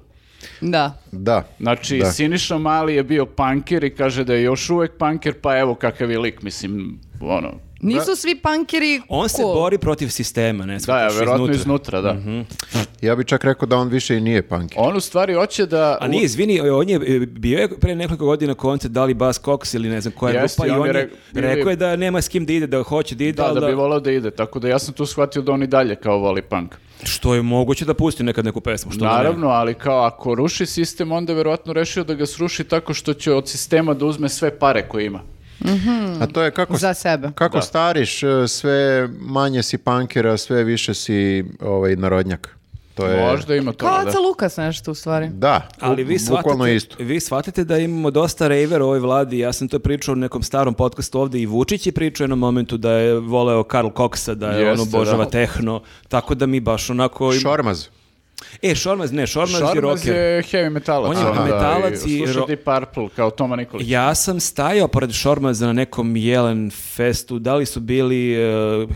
Da. Da. Znači, da. Siniša Mali je bio punker i kaže da je još uvek punker, pa evo kakav je lik, mislim, ono... Nisu svi pankeri On se cool. bori protiv sistema, ne Da, ja, shvataš, verovatno iznutra, iznutra. da. Ja bih čak rekao da on više i nije punk. On u stvari hoće da... A nije, izvini, on je e, bio je pre nekoliko godina koncert Dali Bas Cox ili ne znam koja Jeste, grupa i i on on je je re- bili- rekao je da nema s kim da ide, da hoće da ide, Da, ali da bi volao da ide, tako da ja sam tu shvatio da on i dalje kao voli punk. što je moguće da pusti nekad neku pesmu. Što da ne? Naravno, ali kao ako ruši sistem, onda je verovatno rešio da ga sruši tako što će od sistema da uzme sve pare koje ima. A to je kako, za sebe. kako stariš, e, sve manje si punkera, sve više si ovaj, narodnjak. To je... Možda ima to, Kao da. Aca Lukas nešto u stvari. Da, Ali vi bukvalno shvatate, isto. vi shvatate da imamo dosta rejvera u ovoj vladi. Ja sam to pričao u nekom starom podcastu ovde i Vučić je pričao u jednom momentu da je voleo Karl Coxa, da je Jeste, on obožava da. tehno. Tako da mi baš onako... im- Šormaz. E, Šormaz, ne, Šormaz, je Šarmaz rocker. je heavy metalac. On je ono, da, metalac i Sluša ro- Deep Purple, kao Toma Nikolić. Ja sam stajao pored Šormaza na nekom Jelen festu, da li su bili... eh,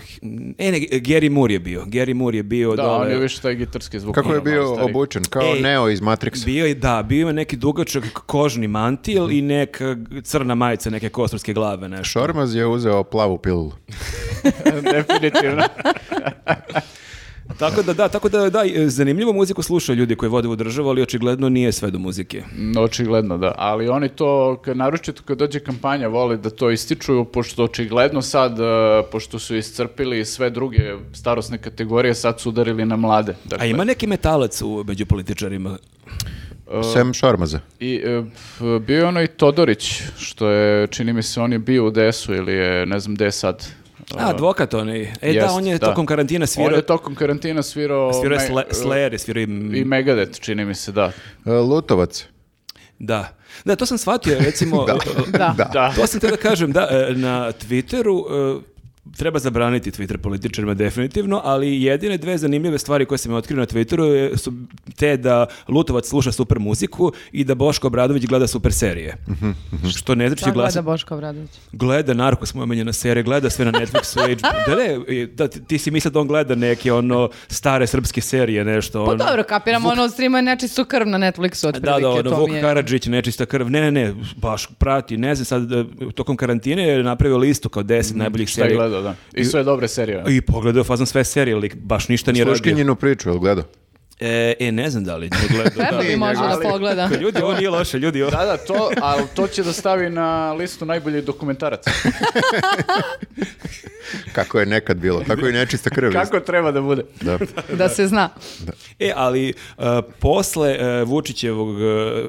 e, ne, Gary Moore je bio. Gary Moore je bio Da, dole. on je više taj gitarski zvuk. Kako je ono, malo bio stariji. obučen? Kao Ej, Neo iz Matrixa. Bio je, da, bio je neki dugačak kožni mantil i neka crna majica, neke kostorske glave, nešto. Šormaz je uzeo plavu pilulu. Definitivno. Tako da, da, tako da, da, zanimljivu muziku slušaju ljudi koji vode u državu, ali očigledno nije sve do muzike. Mm, Očigledno, da. Ali oni to, k- naročito kad dođe kampanja, vole da to ističuju, pošto očigledno sad, e, pošto su iscrpili sve druge starosne kategorije, sad su udarili na mlade. A Dakle, ima neki metalac u, među političarima. Sem Šormaza. I e, f- bio je ono i Todorić, što je, čini mi se, on je bio u DS-u ili je, ne znam gde je sad. A, advokat onaj. E, da, Jest, on je da. tokom karantina On svirao, je ovaj, tokom karantina svirao... svirao je me- e, sle- Slayer, je svirao i- I Megadeth, čini mi se, da. E, Lutovac. Da. Da, to sam shvatio, recimo, Da. e, Da. da. Da. to sam te da kažem, da, e, na Twitteru e, treba zabraniti Twitter političarima definitivno, ali jedine dve zanimljive stvari koje sam otkrio na Twitteru je- su te da Lutovac sluša super muziku i da Boško Obradović gleda super serije. Što ne znači Šta gleda glasa Boško Obradović? gleda Narcos, moja omenjena serija, gleda sve na Netflixu, HBO. Da ne, da, ti, ti si mislio da on gleda neke ono stare srpske serije, nešto. Pa ono. dobro, kapiram, ono streamuje nečistu krv na Netflixu, Da, otprilike, da, ono, to Vuk mi je. Karadžić, nečista krv. Ne, ne, ne, baš prati, ne znam, sad e, tokom karantine je napravio listu kao 10 Mm, najboljih Šta je serija. gledao, da. I sve dobre serije. I pogledao fazom sve serije, lik, baš ništa nije radio. Sluškinjinu priču, jel gledao? E, e, ne znam da li je to gledao. Treba bi Da. možda da Ali- pogleda. da. Ljudi, ovo nije loše, ljudi, ovo... Da, da, to, ali to će da stavi na listu najboljih dokumentaraca. Kako je nekad bilo, tako i nečista krv. Kako treba da bude? Da. Da se zna. E, ali e, posle e, Vučićevog e, e,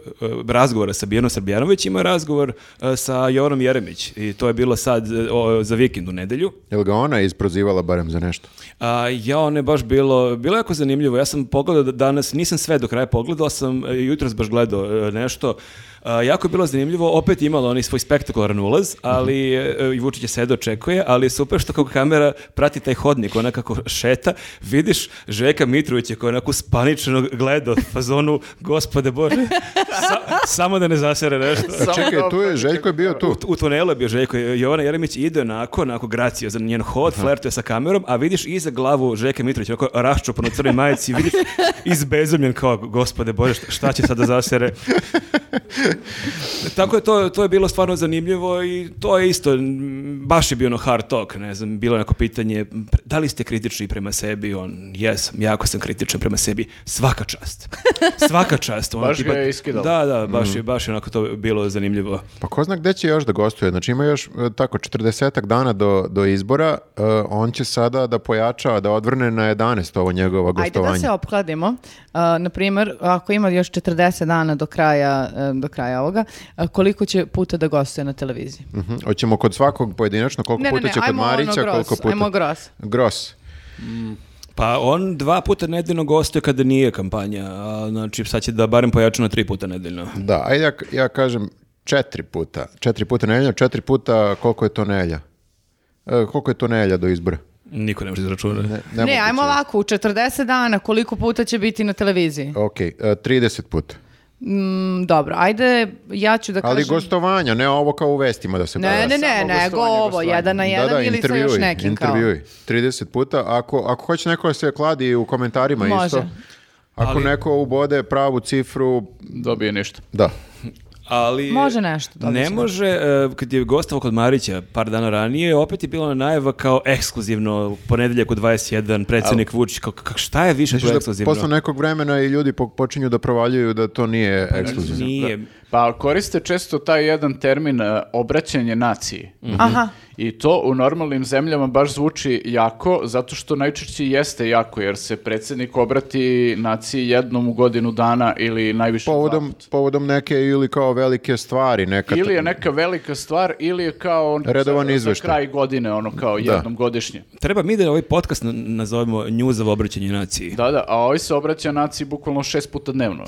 razgovora sa Bijanom Srbijanović ima razgovor e, sa Jovanom Jeremić i to je bilo sad e, o- za vikend u nedelju. Jel ga ona isprozivala barem za nešto? A, ja, ono je baš bilo, bilo je jako zanimljivo. Ja sam pogledao da- danas, nisam sve do kraja pogledao, sam e, jutros baš gledao e, nešto. A, jako je bilo zanimljivo, opet je imalo onaj svoj spektakularan ulaz, ali e, i Vučić je sve dočekuje, ali je super što kako kamera prati taj hodnik, ona kako šeta, vidiš Žeka Mitrovića koji onako spaničeno gleda fazonu, gospode bože, sa- samo da ne zasere nešto. A Samo čekaj, da- tu je, Željko je bio tu. U tunelu je bio Željko Jovana Jeremić ide onako, onako gracio za njen hod, flertuje sa kamerom, a vidiš iza glavu Željka Mitrovića, onako raščupano u crnoj majici, vidiš izbezumljen kao, gospode Bože, šta- šta će sada zasere? Tako je, to, to je bilo stvarno zanimljivo i to je isto, m, baš je bio ono hard talk, ne znam, bilo je neko pitanje, m, da li ste kritični prema sebi? On, jesam, jako sam kritičan prema sebi, svaka čast. Svaka čast. ono, Baš tipa- ga je iskidalo. Da, da, baš, je, baš je onako to bilo zanimljivo. Pa ko zna gde će još da gostuje? Znači ima još e, tako 40 dana do, do izbora, e, on će sada da pojača, da odvrne na 11 ovo njegovo Ajde gostovanje. da se opkladimo. Na Naprimjer, ako ima još 40 dana do kraja, e, do kraja ovoga, a koliko će puta da gostuje na televiziji? Mhm. Hoćemo kod svakog pojedinačno, koliko Ne, ne, puta ne, će kod ajmo ono Marića, gros, koliko puta... ajmo gros. Gros. Pa on dva puta nedeljno gostuje kada nije kampanja, a znači sad će da barem pojača na tri puta nedeljno. Da, ajde ja, ja kažem četiri puta. Četiri puta nelja, četiri puta koliko je to nelja? E, koliko je to nelja do izbora? Niko ne može izračunati. Ne, moguće. ajmo ovako, u 40 dana koliko puta će biti na televiziji? Ok, e, 30 puta. Mm, dobro, ajde, ja ću da kažem... Ali gostovanja, ne ovo kao u vestima da se gleda. Ne, ne, ne, Samo nego gostovanje, ovo, gostovanje. jedan na jedan ili sa još intervjui, nekim kao. intervjui. 30 puta. Ako, ako hoće neko da se kladi u komentarima Može. isto. Ako neko ubode pravu cifru, Dobije ništa. da. Ali Može nešto, dobit Ne ćemo. može, e, kad je gostovao kod Marića par dana ranije, opet je bila ona najava kao ekskluzivno ponedeljak u 21, predsjednik Vučić, kao, kak- šta je više to Znaš Znači da ekskluzivno? posle nekog vremena i ljudi po- počinju da provaljuju da to nije ekskluzivno. Nije. Pa koriste često taj jedan termin e, obraćanje naciji. Mm. Mhm. Aha, I to u normalnim zemljama baš zvuči jako, zato što najčešće i jeste jako, jer se predsjednik obrati naciji jednom u godinu dana ili najviše dva Povodom, puta. povodom neke ili kao velike stvari. Neka Ili je neka velika stvar, ili je kao on- Redovan za- za izveštaj. kraj godine, ono kao jednom godišnje. Treba mi da ovaj podcast na- nazovemo njuzovo obraćanje naciji. Da, da, a ovaj se obraća naciji bukvalno šest puta dnevno.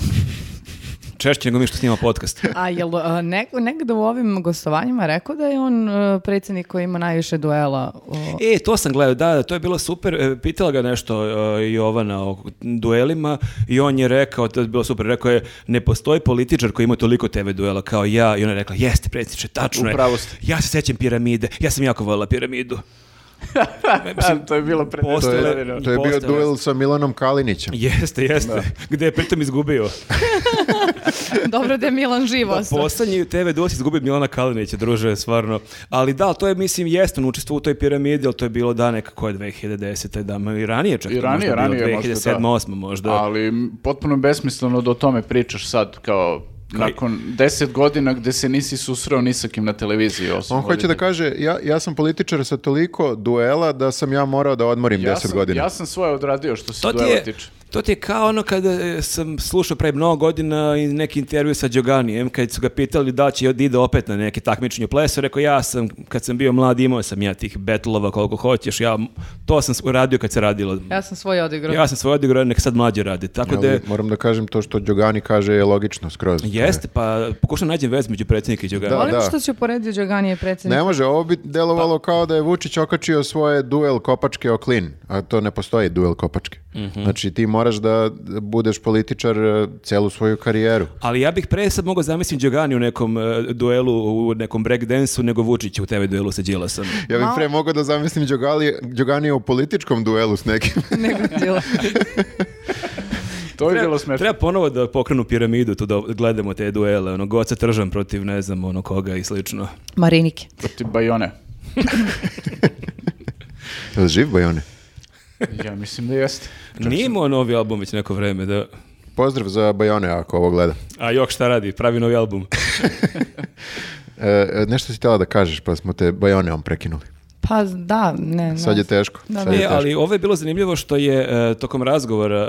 Češće nego mi što snimamo podcast. a jel e, neko, negde u ovim gostovanjima rekao da je on e, predsjednik koji ima najviše duela? o- Pa. E, to sam gledao, da, da, to je bilo super. E, Pitala ga nešto e, Jovana o duelima i on je rekao, to je bilo super, rekao je, ne postoji političar koji ima toliko TV duela kao ja. I ona je rekla, jeste predsjedniče, tačno je. Upravo ste. Ja se sjećam piramide, ja sam jako volila piramidu. to je bilo pre to Postojala- je, to je bio postojala- duel sa Milanom Kalinićem. Jeste, jeste. Gde je pritom izgubio. Dobro da je Milan živo. ostao. Poslednji TV duel si izgubio Milana Kalinića, druže, stvarno. Ali da, to je, mislim, jeste on učestvo u toj piramidi, ali to je bilo da nekako je 2010. Da, ma i ranije čak. I to ranije, Dakle, možda bilo, ranije možda, 2007. da. 2008. možda. Ali m, potpuno besmisleno da o tome pričaš sad, kao nakon deset godina gde se nisi susreo ni sa kim na televiziji. osim On hoće da voditelja. kaže, ja, ja sam političar sa toliko duela da sam ja morao da odmorim Ja 10 sam- godina. Ja sam svoje odradio što se To ti duela je, tiče. To ti je kao ono kada e, sam slušao pre mnogo godina i neki intervju sa Đoganijem, kad su ga pitali da će da ide opet na neke takmičenje u plesu, rekao ja sam, kad sam bio mlad imao sam ja tih betlova koliko hoćeš, ja, to sam s- uradio kad se radilo. Ja sam svoje odigrao. Ja sam svoje odigrao, nek sad mlađe rade. Tako da, Ali moram da kažem to što Đogani kaže je logično skroz. jeste, pa pokušam nađem vez među predsjednika i Đoganija. Da, Volim da. što si uporedio Đoganije predsjednik. Ne može, ovo bi delovalo kao da je Vučić okačio svoje duel kopačke o klin, a to ne postoji duel kopačke. Znači ti moraš da budeš političar e, celu svoju karijeru. Ali ja bih pre sad mogao zamisliti Đogani u nekom e, duelu, u nekom breakdansu, nego Vučić u TV duelu sa Đilasom. Ja bih Malo- pre mogao da zamislim Đogali, Đoganija u političkom duelu s nekim. Nego Đila. To bi bilo smešno. Treba ponovo da pokrenu piramidu, tu da gledamo te duele, ono, Goca Tržan protiv, ne znam, ono, koga i slično. Marinike. Protiv Bajone. Jel Živ Bajone. Ja mislim da jeste. Pa Nije imao novi album već neko vreme, da... Pozdrav za Bajone ako ovo gleda. A jok šta radi, pravi novi album. E, E, nešto si htjela da kažeš pa smo te Bajoneom prekinuli. Pa da, ne. ne. Sad je teško. Da, sad je E, teško. ali ovo je bilo zanimljivo što je e, tokom razgovora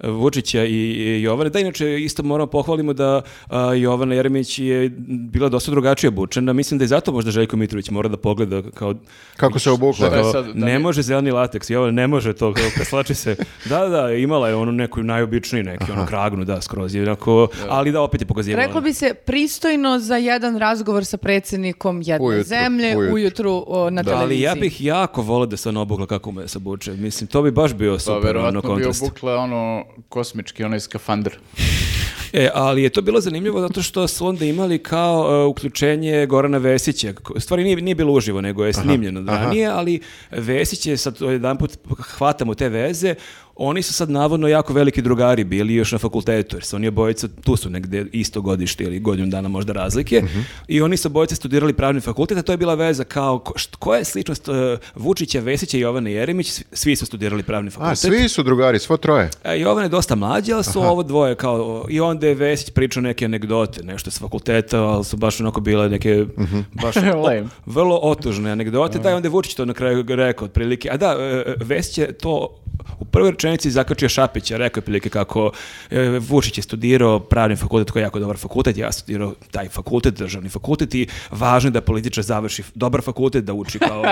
e, Vučića i, i Jovane, da inače isto moramo pohvalimo da a, Jovana Jeremić je bila dosta drugačije obučena, mislim da je zato možda Željko Mitrović mora da pogleda kao Kako se obukla? Šta je Kao, sad, da ne mi- može zeleni lateks, Jovana ne može to, kao preslači se. Da, da, imala je onu neku najobičniji neki, ono kragnu, da, skroz je, onako, ali da, opet je pokazivala. Reklo bi se pristojno za jedan razgovor sa predsjednikom jedne Ujutru, zemlje ujutru. ujutru, o, na Da, ali televiziji. ja bih jako volio da se ona obukla kako me se obuče. Mislim, to bi baš bio Pa super ono, verovatno bi kontrast. obukla ono kosmički, onaj skafandr. E, ali je to bilo zanimljivo zato što su onda imali kao e, uključenje Gorana Vesića. Ko- U stvari nije, nije bilo uživo, nego je snimljeno ranije, ali Vesić je sad jedan put, hvatamo te veze, oni su sad navodno jako veliki drugari bili još na fakultetu, jer su oni obojica, tu su negde isto godište ili godinu dana možda razlike, Mhm. i oni su obojica studirali pravni fakultet, a to je bila veza kao, ko, št- koja je sličnost e, Vučića, Vesića i Jovane Jeremić, Svi- svi su studirali pravni fakultet. A, svi su drugari, svo troje. E, Jovan je dosta mlađi, ali su ovo dvoje kao... I onda je Vesić pričao neke anegdote, nešto s fakulteta, ali su baš onako bile neke... Baš Lame. vrlo otužne anegdote. Da, i onda je Vučić to na kraju rekao otprilike. A da, e, e, Vesić je to u prvoj rečenici zakačio Šapića, rekao je otprilike kako e, Vučić je studirao pravni fakultet koji je jako dobar fakultet, ja sam studirao taj fakultet, državni fakultet i važno je da političar završi dobar fakultet, da uči kao...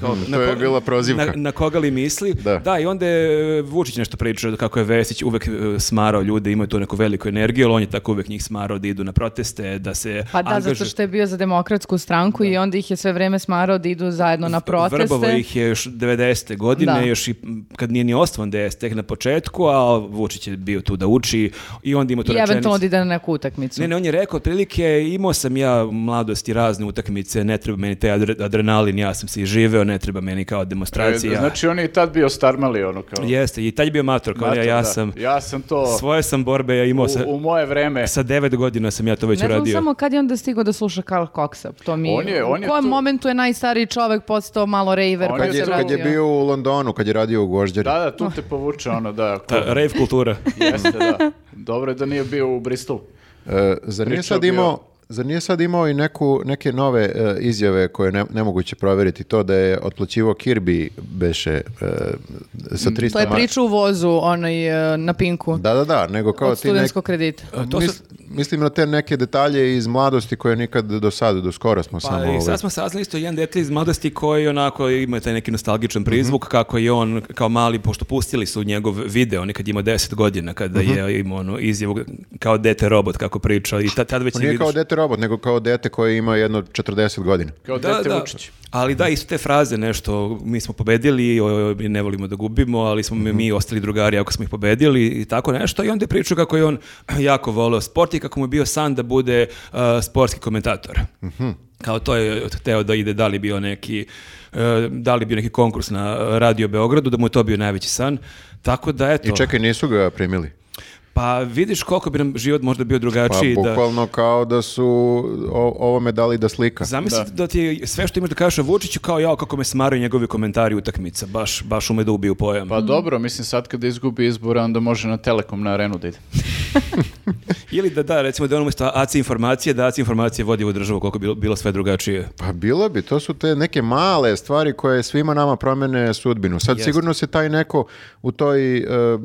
kao- na to je ko- bila prozivka. na- na koga li misli. Da. Da. i onda je e, Vučić nešto pričao kako je Vesić uvek e, smarao ljude, imaju tu neku veliku energiju, ali on je tako uvek njih smarao da idu na proteste, da se Pa da, zato što je bio za demokratsku stranku i onda ih je sve vrijeme smarao da idu zajedno na proteste. Vrbovo ih je još 90. godine, Da. još i m, kad nije ni osnovan DS tek na početku, a Vučić je bio tu da uči i onda ima tu I rečenicu. eventualno da ide na neku utakmicu. Ne, ne, on je rekao, otprilike, imao sam ja u mladosti razne utakmice, ne treba meni taj adre- adrenalin, ja sam se i živeo, ne treba meni kao E, demonstracija. znači on je i tad bio starmali ono kao. Jeste, i tad je bio mator, kao ja, Mator, ja da. sam, Ja sam to svoje sam borbe, ja imao sa, u, u moje e. vreme. sa devet godina sam ja to već Ne znam uradio. samo kad je onda stigao da sluša Karl Coxa. To mi, On je- on je u kojem tu- momentu je najstariji čovek postao malo raver On pa Kad se je, tu- kad je vratio? bio u Londonu, kad je radio u Gožđari. Da, da, tu te povuče ono, da. ko- Ta rave kultura. Jeste, da. Dobro je da nije bio u Bristolu. E, zar nije Pričao sad bio- imao Zar nije sad imao i neku, neke nove e, izjave koje ne, nemoguće provjeriti to da je otplaćivao Kirby beše e, Mm, sa 300 To je mar- priča u vozu onaj, e, na Pinku Da, da, da, nego kao od ti nek, studentskog kredita. To su- mis- mislim na te neke detalje iz mladosti koje nikad do sada, do skora smo Pa samo... i ovaj- sad smo saznali isto jedan detalj iz mladosti koji onako ima taj neki nostalgičan Mhm. prizvuk kako je on kao mali, pošto pustili su njegov video, on je kad ima 10 godina, kada Mhm. je imao ono izjavu kao dete robot kako priča i ta, tad već On je nije vidiš... kao dete robot, nego kao dete koje ima jedno 40 godina. Kao Da, dete da. Vučić. Ali da, isto te fraze nešto, mi smo pobedili, o, mi ne volimo da gubimo, ali smo mi- mi ostali drugari ako smo ih pobedili i tako nešto. I onda je pričao kako je on jako voleo sport i kako mu je bio san da bude uh, sportski komentator. Kao to je teo da ide, da li bio neki uh, da li bio neki konkurs na Radio Beogradu, da mu je to bio najveći san. Tako da, eto, I čekaj, nisu ga primili. Pa vidiš koliko bi nam život možda bio Pa drugačiji Znači, da... bukvalno kao da su o, ovome dali da slika. Zamisli da. ti je sve što imaš da kažeš o Vučiću kao ja kako me smaraju njegovi komentari utakmica. Baš, baš ume da ubiju pojam. Mm. Pa dobro, mislim sad kada izgubi izbore, onda može na Telekom na arenu da ide. Ili da da, recimo da on umjesto AC informacije, da AC informacije vodi u državu koliko bi bilo, bilo sve drugačije. Pa bilo bi, to su te neke male stvari koje svima nama promene sudbinu. Sad sigurno se taj neko u toj e, e,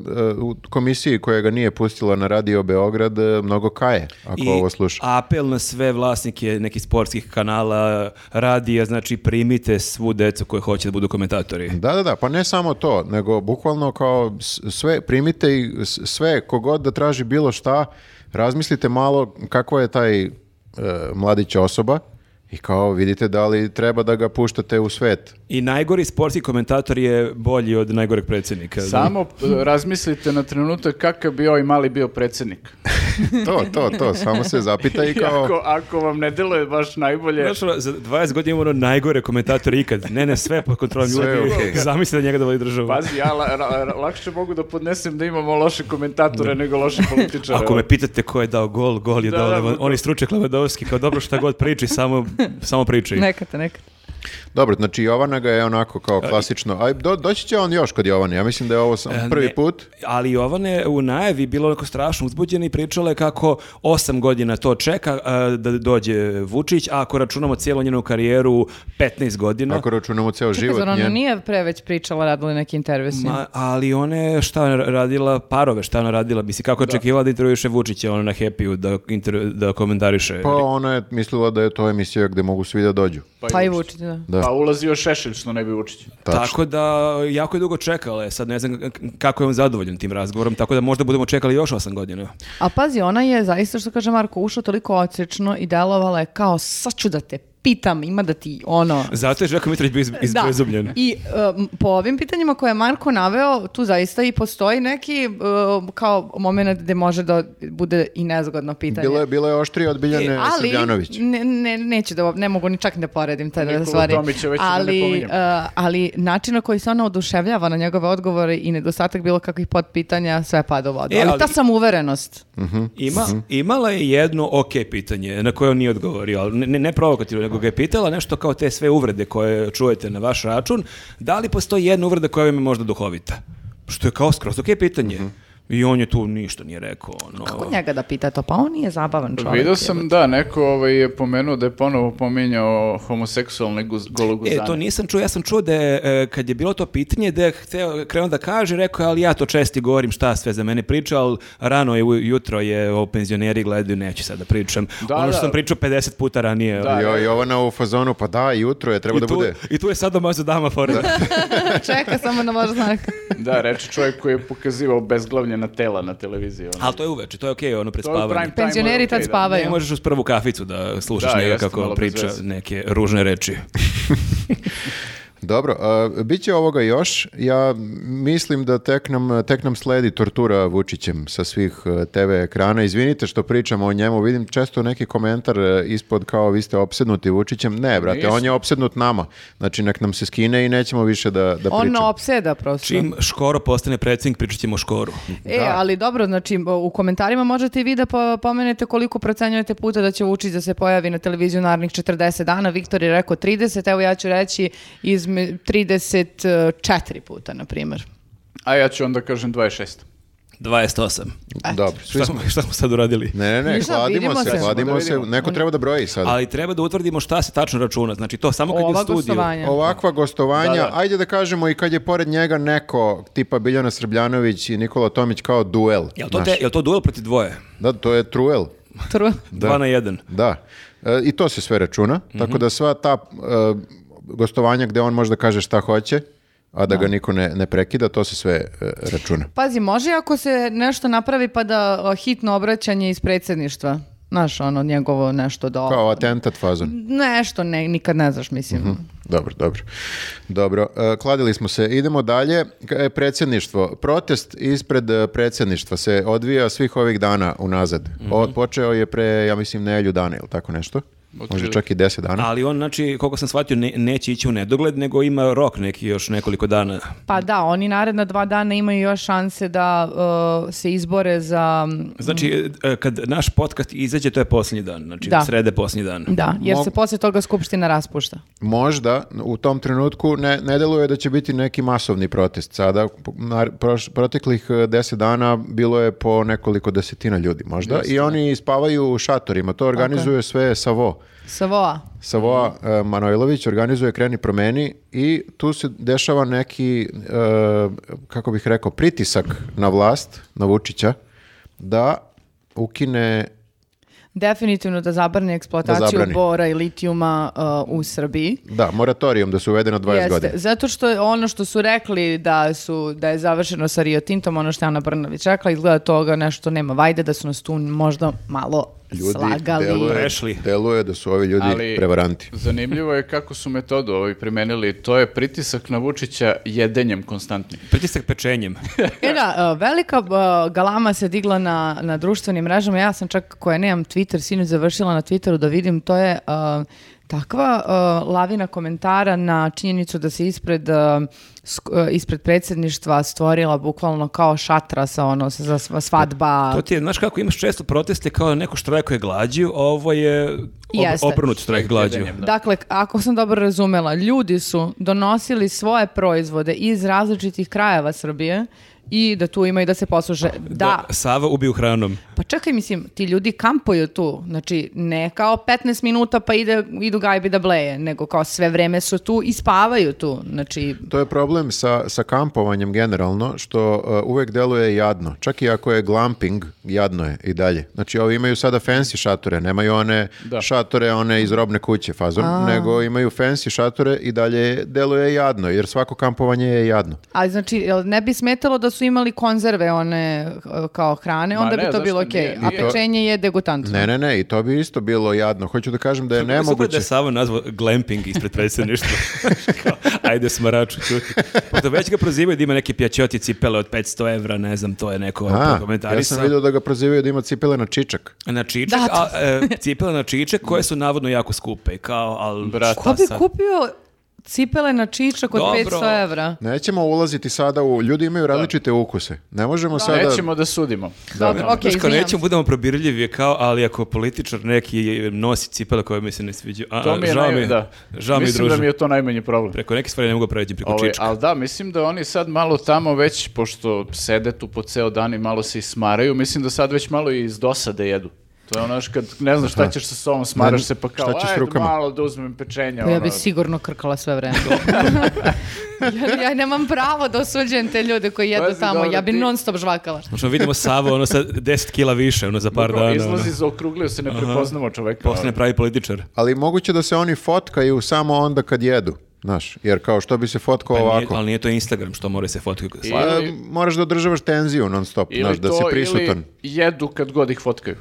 u komisiji koja ga nije pustila na radio Beograd e, mnogo kaje, ako I ovo sluša. apel na sve vlasnike nekih sportskih kanala, radija, znači primite svu decu koje hoće da budu komentatori. Da, da, da, pa ne samo to, nego bukvalno kao s- sve, primite i s- sve, kogod da traži bilo šta, razmislite malo kako je taj e, mladić osoba i kao vidite da li treba da ga puštate u svet. I najgori sportski komentator je bolji od najgoreg predsjednika. Samo p- razmislite na trenutak kakav bi ovaj mali bio predsjednik. To, to, to, samo se zapita i kao... Ako, ako vam ne deluje baš najbolje, Znaš, ono, za 20 godina imamo ono najgore komentator ikad. Ne, ne, sve pod kontrolom Sve je ljudi. okej. Zamisli da njega da vodi državu. pazi, ja la- ra- ra- lakše mogu da podnesem da imamo loše komentatore nego loše političare. Ako me pitate ko je dao gol, gol je Da, dao da, Levan- oni stručnjak Levandovski, kao dobro šta god priči, samo, samo priči. Nekate, nekate. Dobro, znači Jovana ga je onako kao klasično, a do, doći će on još kod Jovane, ja mislim da je ovo sam E, prvi ne. put. Ali Jovana je u najavi bilo onako strašno uzbuđena i pričala je kako osam godina to čeka a, da dođe Vučić, a ako računamo cijelu njenu karijeru 15 godina. Ako računamo ceo Čekaj, život zar ona njen. nije pre već pričala, radila neki intervju s njim? Ma, ali ona je šta je radila parove, šta je ona radila, misli kako je očekivala da intervjuše Vučića ona na Happy-u da, inter- da komentariše. Pa ona je mislila da je to emisija gde mogu svi da dođu. Pa i Vučić, da. da. Pa ulazio Šešelj, što ne bi Vučić. Tačno. Tako da, jako je dugo čekala je. Sad ne znam k- kako je on zadovoljan tim razgovorom, tako da možda budemo čekali još 8 godina. A pazi, ona je zaista, što kaže Marko, ušla toliko odsječno i delovala je kao, sad ću da te pitam, ima da ti ono... Zato je Željko Mitrović bio iz- izbezumljen. Da. I um, po ovim pitanjima koje je Marko naveo, tu zaista i postoji neki um, kao moment gde može da bude i nezgodno pitanje. Bilo je, bilo je oštrije od Biljane E, ali, Srbljanović. Ne, ne, neću da, ne mogu ni čak ni da poredim te dve Nikolu stvari. Tomića već da ne ali, pominjem. e, ali način na koji se ona oduševljava na njegove odgovore i nedostatak bilo kakvih potpitanja, sve pada u vodu. E, ali, ali- ta samouverenost. Ima, imala je jedno ok pitanje na koje on nije odgovorio, ali ne, ne- ne provokativno, nego ga je pitala nešto kao te sve uvrede koje čujete na vaš račun, da li postoji jedna uvreda koja vam je možda duhovita? Što je kao skroz ok pitanje. I on je tu ništa nije rekao. Ono, Kako njega da pita to? Pa on nije zabavan čovjek. Video sam, da, neko ovaj, je pomenuo da je ponovo pominjao homoseksualne guz, gologuzane. E, to nisam čuo, ja sam čuo da je, e, kad je bilo to pitanje, da je hteo, krenuo da kaže, rekao je, ali ja to česti govorim, šta sve za mene priča, ali rano je, jutro je, o penzioneri gledaju, neću sad da pričam. Da, ono što da. sam pričao 50 puta ranije. Da, Jo, da. Jovana u fazonu, pa da, jutro je, treba I da tu, bude. I tu je sad domazo dama fora. Čeka samo na vaš znak. Da, reče čovjek koji je pokazivao bezglavljena tela na televiziji. ono. Ali to je uveče, to je okej, ono pred To je u spavanje. prime timeu, Penzioneri okej, tad da. spavaju. Ne možeš uz prvu kaficu da slušaš Da, njega jeste, kako malo bez priča veze. neke ružne reči. Dobro, a, bit će ovoga još. Ja mislim da tek nam, tek nam sledi tortura Vučićem sa svih e, TV ekrana. Izvinite što pričamo o njemu. Vidim često neki komentar e, ispod kao vi ste opsednuti Vučićem. Ne, brate, Nisam. on je opsednut nama. Znači, nek nam se skine i nećemo više da, da On pričamo. opseda prosto. Čim Škoro postane predsjednik, pričat ćemo o Škoru. E, ali dobro, znači u komentarima možete i vi da po- pomenete koliko procenjujete puta da će Vučić da se pojavi na televiziju narednih 40 dana. Viktor je rekao 30, evo ja ću reći izme, 34 puta, na primjer. A ja ću onda kažem 26. 28. Dobro, svi Šta smo... smo, šta smo sad uradili? Ne, ne, ne, Ništa, hladimo vidimo se, se. hladimo Da se. vidimo. Neko treba da broji sad. Ali treba da utvrdimo šta se tačno računa. Znači to samo kad je u Ova studiju. gostovanja. Ovakva gostovanja, Da, da. ajde da kažemo i kad je pored njega neko tipa Biljana Srbljanović i Nikola Tomić kao duel. Jel to, znaš. te, jel to duel protiv dvoje? Da, to je truel. Tru- Da. Dva na jedan. Da. E, I to se sve računa. Tako da sva ta e, gostovanja gde on može da kaže šta hoće, a da, ga niko ne, ne prekida, to se sve e, računa. Pazi, može ako se nešto napravi pa da o, hitno obraćanje iz predsjedništva. Znaš, ono, njegovo nešto da... Kao atentat fazon. Nešto, ne, nikad ne znaš, mislim. Dobro, dobro. Dobro, e, kladili smo se. Idemo dalje. K- e, Predsjedništvo. Protest ispred e, predsjedništva se odvija svih ovih dana unazad. Od- počeo je pre, ja mislim, nelju dana ili tako nešto. možda čak i 10 dana. Ali on, znači, koliko sam shvatio, ne- neće ići u nedogled, nego ima rok neki još nekoliko dana. Pa da, oni naredna dva dana imaju još šanse da uh, se izbore za... Znači, e, kad naš podcast izađe, to je posljednji dan. Znači, Mhm. Da. srede posljednji dan. Da, jer Mog- se poslije toga skupština raspušta. Možda u tom trenutku ne, ne deluje da će biti neki masovni protest. Sada, po- na, proš- proteklih e, deset dana bilo je po nekoliko desetina ljudi možda i oni spavaju u šatorima. To organizuje sve Savo. Savoa. Savo e, Manojlović organizuje Kreni promeni i tu se dešava neki, e, kako bih rekao, pritisak na vlast, na Vučića, da ukine Definitivno da zabrani eksploataciju Da zabrani. bora i litijuma uh, u Srbiji. da, moratorijum da se uvede na 20 godina. Zato što je ono što su rekli da su da je završeno sa Rio Tintom, ono što je Ana Brnović rekla, izgleda toga nešto nema vajde, da su nas tu možda malo slagali. Deluje, Prešli. deluje da su ovi ljudi Ali- prevaranti. Zanimljivo je kako su metodu ovi primenili. To je pritisak na Vučića jedenjem konstantnim. Pritisak pečenjem. E da, e, velika e, galama se digla na, na društvenim mrežama. Ja sam čak, koja nemam Twitter, sinoć završila na Twitteru da vidim, to je e, takva e, lavina komentara na činjenicu da se ispred, e, sk- e, ispred predsjedništva stvorila bukvalno kao šatra sa ono, sa, za sva- svadba. To ti je, znaš kako, imaš često proteste kao neko štrajkuje glađu, a ovo je ob- Jeste. obrnut štrajk glađu. Jedenjem, da. Dakle, ako sam dobro razumela, ljudi su donosili svoje proizvode iz različitih krajeva Srbije i da tu ima i da se posluže. Da, Sava ubiju hranom. Pa čekaj, mislim, ti ljudi kampuju tu, znači ne kao 15 minuta pa ide, idu gajbi da bleje, nego kao sve vreme su tu i spavaju tu, znači... To je problem sa, sa kampovanjem generalno, što uh, uvek deluje jadno. Čak i ako je glamping, jadno je i dalje. Znači, ovi imaju sada fancy šatore, nemaju one Da. šatore, one iz robne kuće fazon, nego imaju fancy šatore i dalje deluje jadno, jer svako kampovanje je jadno. Ali znači, jel ne bi smetalo da su imali konzerve one e, kao hrane, Ma onda ne, bi to bilo zašto okej, nije, a nije. pečenje je degutantno. Ne, ne, ne, i to bi isto bilo jadno. Hoću da kažem da je Super da nemoguće. je Sava nazvao glamping ispred predsjedništva. Kao, Ajde smaraču, čuti. Pošto već ga prozivaju da ima neke pjačoti cipele od 500 evra, ne znam, to je neko A, ja sam komentarisao. vidio da ga prozivaju da ima cipele na čičak. Na čičak, Da, to- a, e, cipele na čičak koje su navodno jako skupe. Kao, al, Brate. Ko šta bi sad? kupio cipele na čičak od Dobro. 500 evra? Nećemo ulaziti sada u... Ljudi imaju različite ukuse. Ne možemo sada... Nećemo da sudimo. Dobro, okej, Znaš, kao izvinjam nećemo se. budemo probirljivi kao, ali ako političar neki nosi cipele koje mi se ne sviđaju, a, To mi je žao mi, naj- da. žao mi Mislim druže. da mi je to najmanji problem. Preko neke stvari ne mogu pređi preko Ovaj, čička. ali da, mislim da oni sad malo tamo već, pošto sede tu po ceo dan i malo se ismaraju, mislim da sad već malo i iz dosade jedu. To je ono još kad ne znaš šta ćeš sa sobom, smaraš Ne, se pa kao, šta ćeš ajde rukama?" malo da uzmem pečenja. Pa ja ono. bi sigurno krkala sve vreme. ja, ja nemam pravo da osuđujem te ljude koji jedu Pazi, tamo, Pa dobro, ja bi ti- non stop žvakala. Znači, vidimo Savo, ono sa 10 kila više, ono za par Bukvalno, dana. Izlazi Izlazi... iz okruglio se, ne prepoznamo čoveka. ono. Postane pravi političar. Ali moguće da se oni fotkaju samo onda kad jedu, znaš, jer kao što bi se fotkao Pa nije, ovako. ali nije to Instagram što mora se fotografirati. I- Pa, Ili- moraš da održavaš tenziju non stop, Ili znaš, da to, si prisutan. Ili jedu kad god ih fotkaju.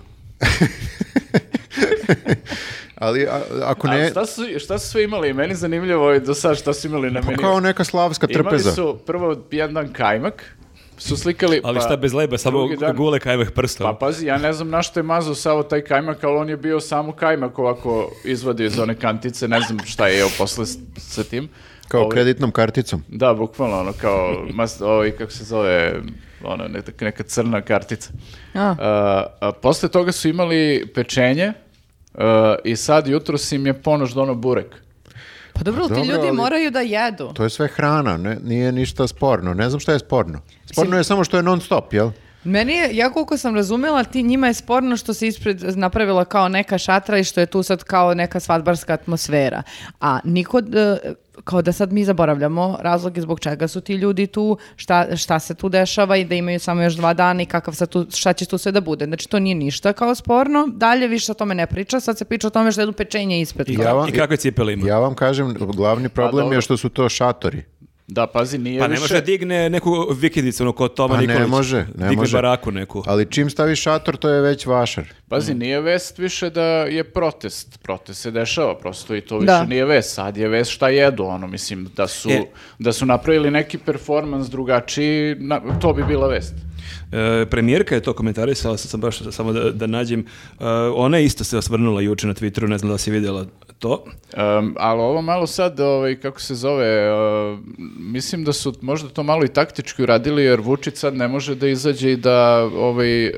Ali a- ako A Pa ne, šta su, šta su sve imali? Meni zanimljivo je do sad šta su imali na meni. Pa kao neka slavska Imali trpeza. su prvo jedan kajmak, su slikali... Ali pa- šta bez leba, samo drugi dan- gule kajmeh prstom. Pa pazi, ja ne znam na što je mazao Savo taj kajmak, ali on je bio samo kajmak ovako izvadio iz one kantice, ne znam šta je jeo posle s- sa tim. Kao Ovaj, kreditnom karticom. Da, bukvalno, ono kao, mas, ovaj, kako se zove, ono, neka, neka crna kartica. A. A, a posle toga su imali pečenje a, i sad jutro si im je ponoš dono burek. Pa dobro, ali ti Dobro, ljudi ali- moraju da jedu. To je sve hrana, ne, nije ništa sporno. Ne znam šta je sporno. Sporno je samo što je non stop, jel? Meni je, ja koliko sam razumela, ti njima je sporno što se ispred napravila kao neka šatra i što je tu sad kao neka svadbarska atmosfera. A niko, e, kao da sad mi zaboravljamo razloge zbog čega su ti ljudi tu, šta, šta se tu dešava i da imaju samo još dva dana i kakav sad tu, šta će tu sve da bude. Znači to nije ništa kao sporno, dalje više o tome ne priča, sad se priča o tome što jedu pečenje ispred. Ja vam, I kakve cipele ima? ja vam kažem, glavni problem dobro. je što su to šatori. Da, pazi, nije Pa ne više... može da digne neku vikendicu, ono ko Toma Pa Nikolić. ne može, ne digne može. baraku neku. Ali čim staviš šator, to je već vašar. Mm. Pazi, nije vest više da je protest. Protest se dešava prosto i to više Da. nije vest. Sad je vest šta jedu, ono, mislim, da su, E. da su napravili neki performans drugačiji, na- to bi bila vest. E, premijerka je to komentarisala, sad sam baš samo da, da nađem. E, ona je isto se osvrnula juče na Twitteru, ne znam da li si vidjela to. Um, ali ovo malo sad, ovaj, kako se zove, uh, mislim da su možda to malo i taktički uradili, jer Vučić sad ne može da izađe i da ovaj, uh,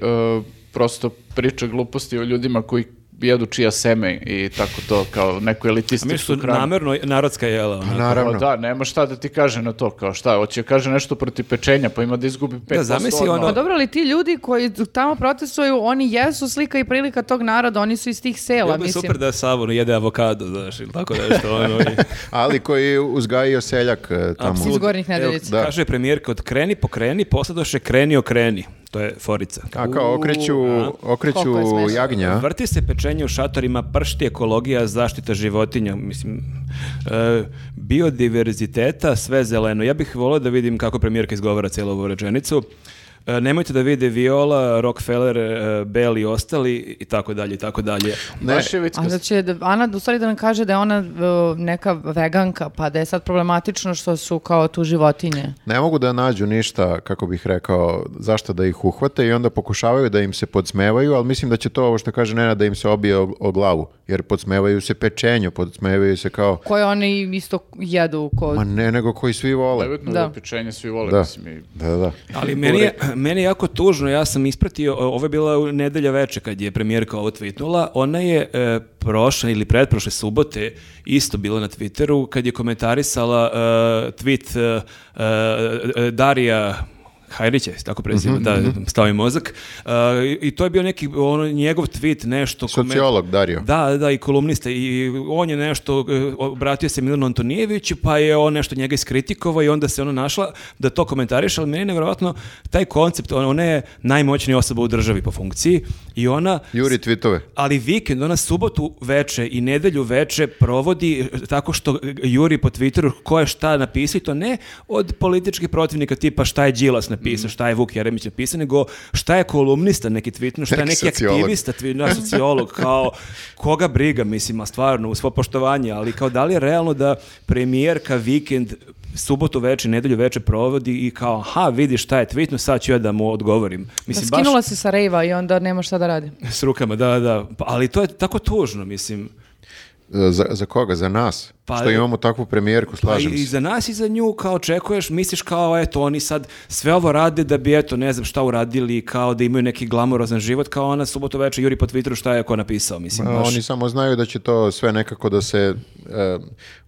prosto priča gluposti o ljudima koji jedu čija seme i tako to, kao neku A mi su elitističku hranu. namerno narodska jela. Ona. Pa Naravno. da, nema šta da ti kaže na to, kao šta, hoće da kaže nešto protiv pečenja, pa ima da izgubi 5% zamisli ono- odmah. Pa dobro, ali ti ljudi koji tamo protestuju, oni jesu slika i prilika tog naroda, oni su iz tih sela, Bilo bi mislim. super da Savo jede avokado, znaš, ili tako nešto. Ono, i- Ali koji je uzgajio seljak e, tamo. Iz Gornjih Nedeljica. Evo, da. Kaže premijerka od kreni po kreni, posladoše kreni o kreni. To je forica. A kao okreću, a. okreću Koliko je smešno. jagnja. Vrti se pečenje u šatorima, pršti ekologija, zaštita životinja, mislim, e, biodiverziteta, sve zeleno. Ja bih volio da vidim kako premijerka izgovara cijelu ovu rečenicu. E, nemojte da vide Viola, Rockefeller, e, Bell i ostali i tako dalje i tako dalje. Ne, Baš A je da vickast. će, da- Ana, u stvari da nam kaže da je ona uh, neka veganka, pa da je sad problematično što su kao tu životinje. ne mogu da nađu ništa, kako bih rekao, zašto da ih uhvate i onda pokušavaju da im se podsmevaju, ali mislim da će to ovo što kaže Nena da im se obije o, o glavu, jer podsmevaju se pečenju, podsmevaju se kao, Koje oni isto jedu kod... ma ne, nego koji svi vole. Levetno Da. da. pečenje svi vole, Da. mislim. i- Da, da, da. Ali meni je, meni je jako tužno, ja sam ispratio, o- ovo je bila u nedelja veče kad je premijerka ovo tweetnula, ona je e, prošle ili pretprošle subote isto bila na Twitteru kad je komentarisala e, tweet e, e, e, Darija Hajrić je tako prezime, da, stao mi mozak. E, i- I to je bio neki, ono, njegov tweet, nešto... koment- Sociolog Dario. da, da, i kolumnista i on je nešto, e, obratio se Milanu Antonijeviću, pa je on nešto njega iskritikovao i onda se ona našla da to komentariše, ali meni je nevjerojatno taj koncept, on- ona je najmoćnija osoba u državi po funkciji i ona... Juri tweetove. Ali vikend, ona subotu veče i nedelju veče provodi e, tako što e, juri po Twitteru ko je šta napisao i to ne od političkih protivnika tipa šta je Đilas napisao, šta je Vuk Jeremić napisao, nego šta je kolumnista neki tweetno, šta je Neki neki sociolog. aktivista, twi- naš sociolog, kao koga briga, mislim, a stvarno, u svo poštovanje, ali kao da li je realno da premijerka vikend subotu veče, i nedelju veče provodi i kao, aha, vidi šta je tweetno, sad ću ja da mu odgovorim. Mislim, baš- Skinula se sa rejva i onda nema šta da radi. s rukama, da, da. Pa, ali to je tako tužno, mislim. E, Za, za koga? Za nas? Pa- što imamo takvu premijerku, Pa slažem i, i se. za nas i za nju kao očekuješ, misliš kao eto oni sad sve ovo rade da bi eto ne znam šta uradili, kao da imaju neki glamurozan život, kao ona subotu večer juri po Twitteru šta je ko napisao, mislim. A, baš. Oni samo znaju da će to sve nekako da se e,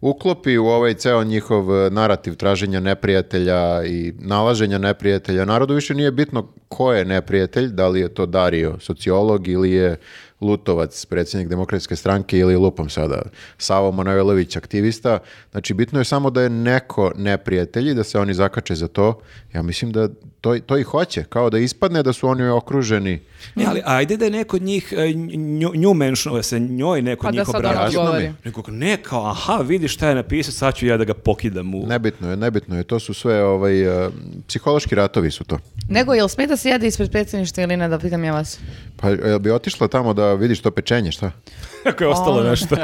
uklopi u ovaj ceo njihov e, narativ traženja neprijatelja i nalaženja neprijatelja. Narodu više nije bitno ko je neprijatelj, da li je to Dario, sociolog ili je Lutovac, predsjednik demokratske stranke ili lupam sada, Savo Manojlović, aktivista. Znači, bitno je samo da je neko neprijatelj i da se oni zakače za to. Ja mislim da to, to i hoće, kao da ispadne da su oni okruženi. Ne, ali ajde da je neko od njih, e, nju, nju menšuje se njoj neko Pa od da njih sad ona obraća. obrazno mi. odgovori. Nego ne kao, aha, vidi šta je napisao, sad ću ja da ga pokidam u... Nebitno je, nebitno je. To su sve ovaj, e, psihološki ratovi su to. Nego, jel sme da se jede ispred predsjedništva ili ne, da pitam ja vas? Pa jel bi otišla tamo da vidiš to pečenje, šta? Ako je ostalo nešto.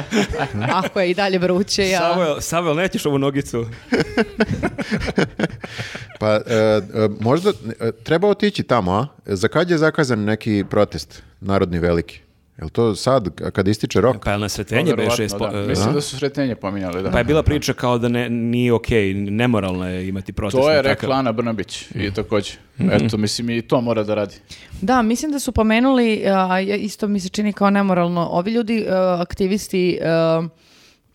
Ako je i dalje vruće, ja... Savo, jel- Savo, jel nećeš ovu nogicu? Pa e, e, možda e, treba otići tamo, a? Za kad je zakazan neki protest, narodni veliki? Jel to sad, k- kad ističe rok? Pa jel na sretenje Verovatno, beše? ispo- da. e, Mislim da su sretenje pominjali, da. Pa je bila priča kao da ne, nije okej, nemoralno je imati protest. to na je takav- rekla Ana Brnabić i takođe. Eto, mislim i to mora da radi. Da, mislim da su pomenuli, a, ja- isto mi se čini kao nemoralno, ovi ljudi, a, aktivisti a,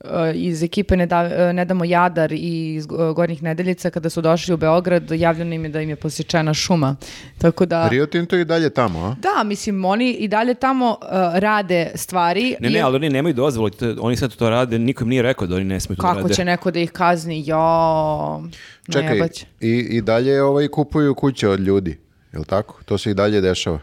a, iz ekipe ne, da, a, ne damo jadar i iz Go- Gornjih Nedeljica, kada su došli u Beograd, javljeno im je da im je posječena šuma. Tako da... Rio Tinto je i dalje tamo, a? Da, mislim, oni i dalje tamo a, rade stvari. Ne, ne, i- ali oni nemaju dozvolu, to- oni sad to rade, niko im nije rekao da oni ne smiju to da Kako rade. će neko da ih kazni? Jo, Čekaj, najebać. i, i dalje ovaj, kupuju kuće od ljudi, jel tako? To se i dalje dešava.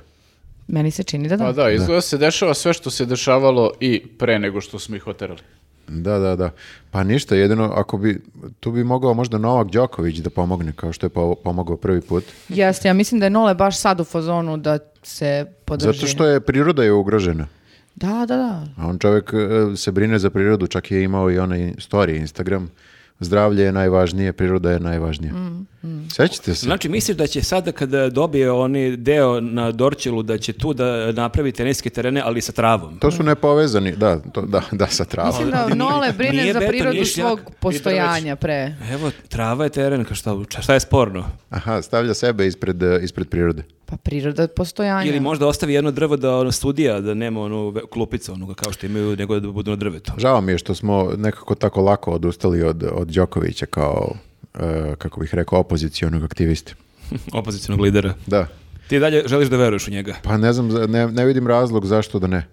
Meni se čini da da. Pa da, izgleda se dešava sve što se dešavalo i pre nego što smo ih oterali. Da, da, da. Pa ništa, jedino ako bi, tu bi mogao možda Novak Đoković da pomogne, kao što je po- pomogao prvi put. Jeste, ja mislim da je Nole baš sad u fazonu da se podrži. Zato što je priroda je ugrožena. Da, da, da. A on čovjek e, se brine za prirodu, čak je imao i onaj story Instagram. Zdravlje je najvažnije, priroda je najvažnija. Sećate se? Znači, misliš da će sada kada dobije oni deo na Dorčilu, da će tu da napravi teniske terene, ali sa travom? To su nepovezani, da, to, da, da, sa travom. Mislim da Nole brine nije za beton, prirodu nije šljak svog i drveć. postojanja pre. Evo, trava je teren, kao šta, šta je sporno? Aha, stavlja sebe ispred, e, ispred prirode. Pa priroda je postojanja. Ili možda ostavi jedno drvo da ono, studija, da nema onu ve- klupicu onoga kao što imaju, nego da budu na drvetu. Žao mi je što smo nekako tako lako odustali od, od Đokovića kao, e, kako bih rekao, opozicionog aktiviste. Opozicionog lidera. Da. Ti dalje želiš da veruješ u njega. Pa ne znam, za- ne, ne vidim razlog zašto da ne.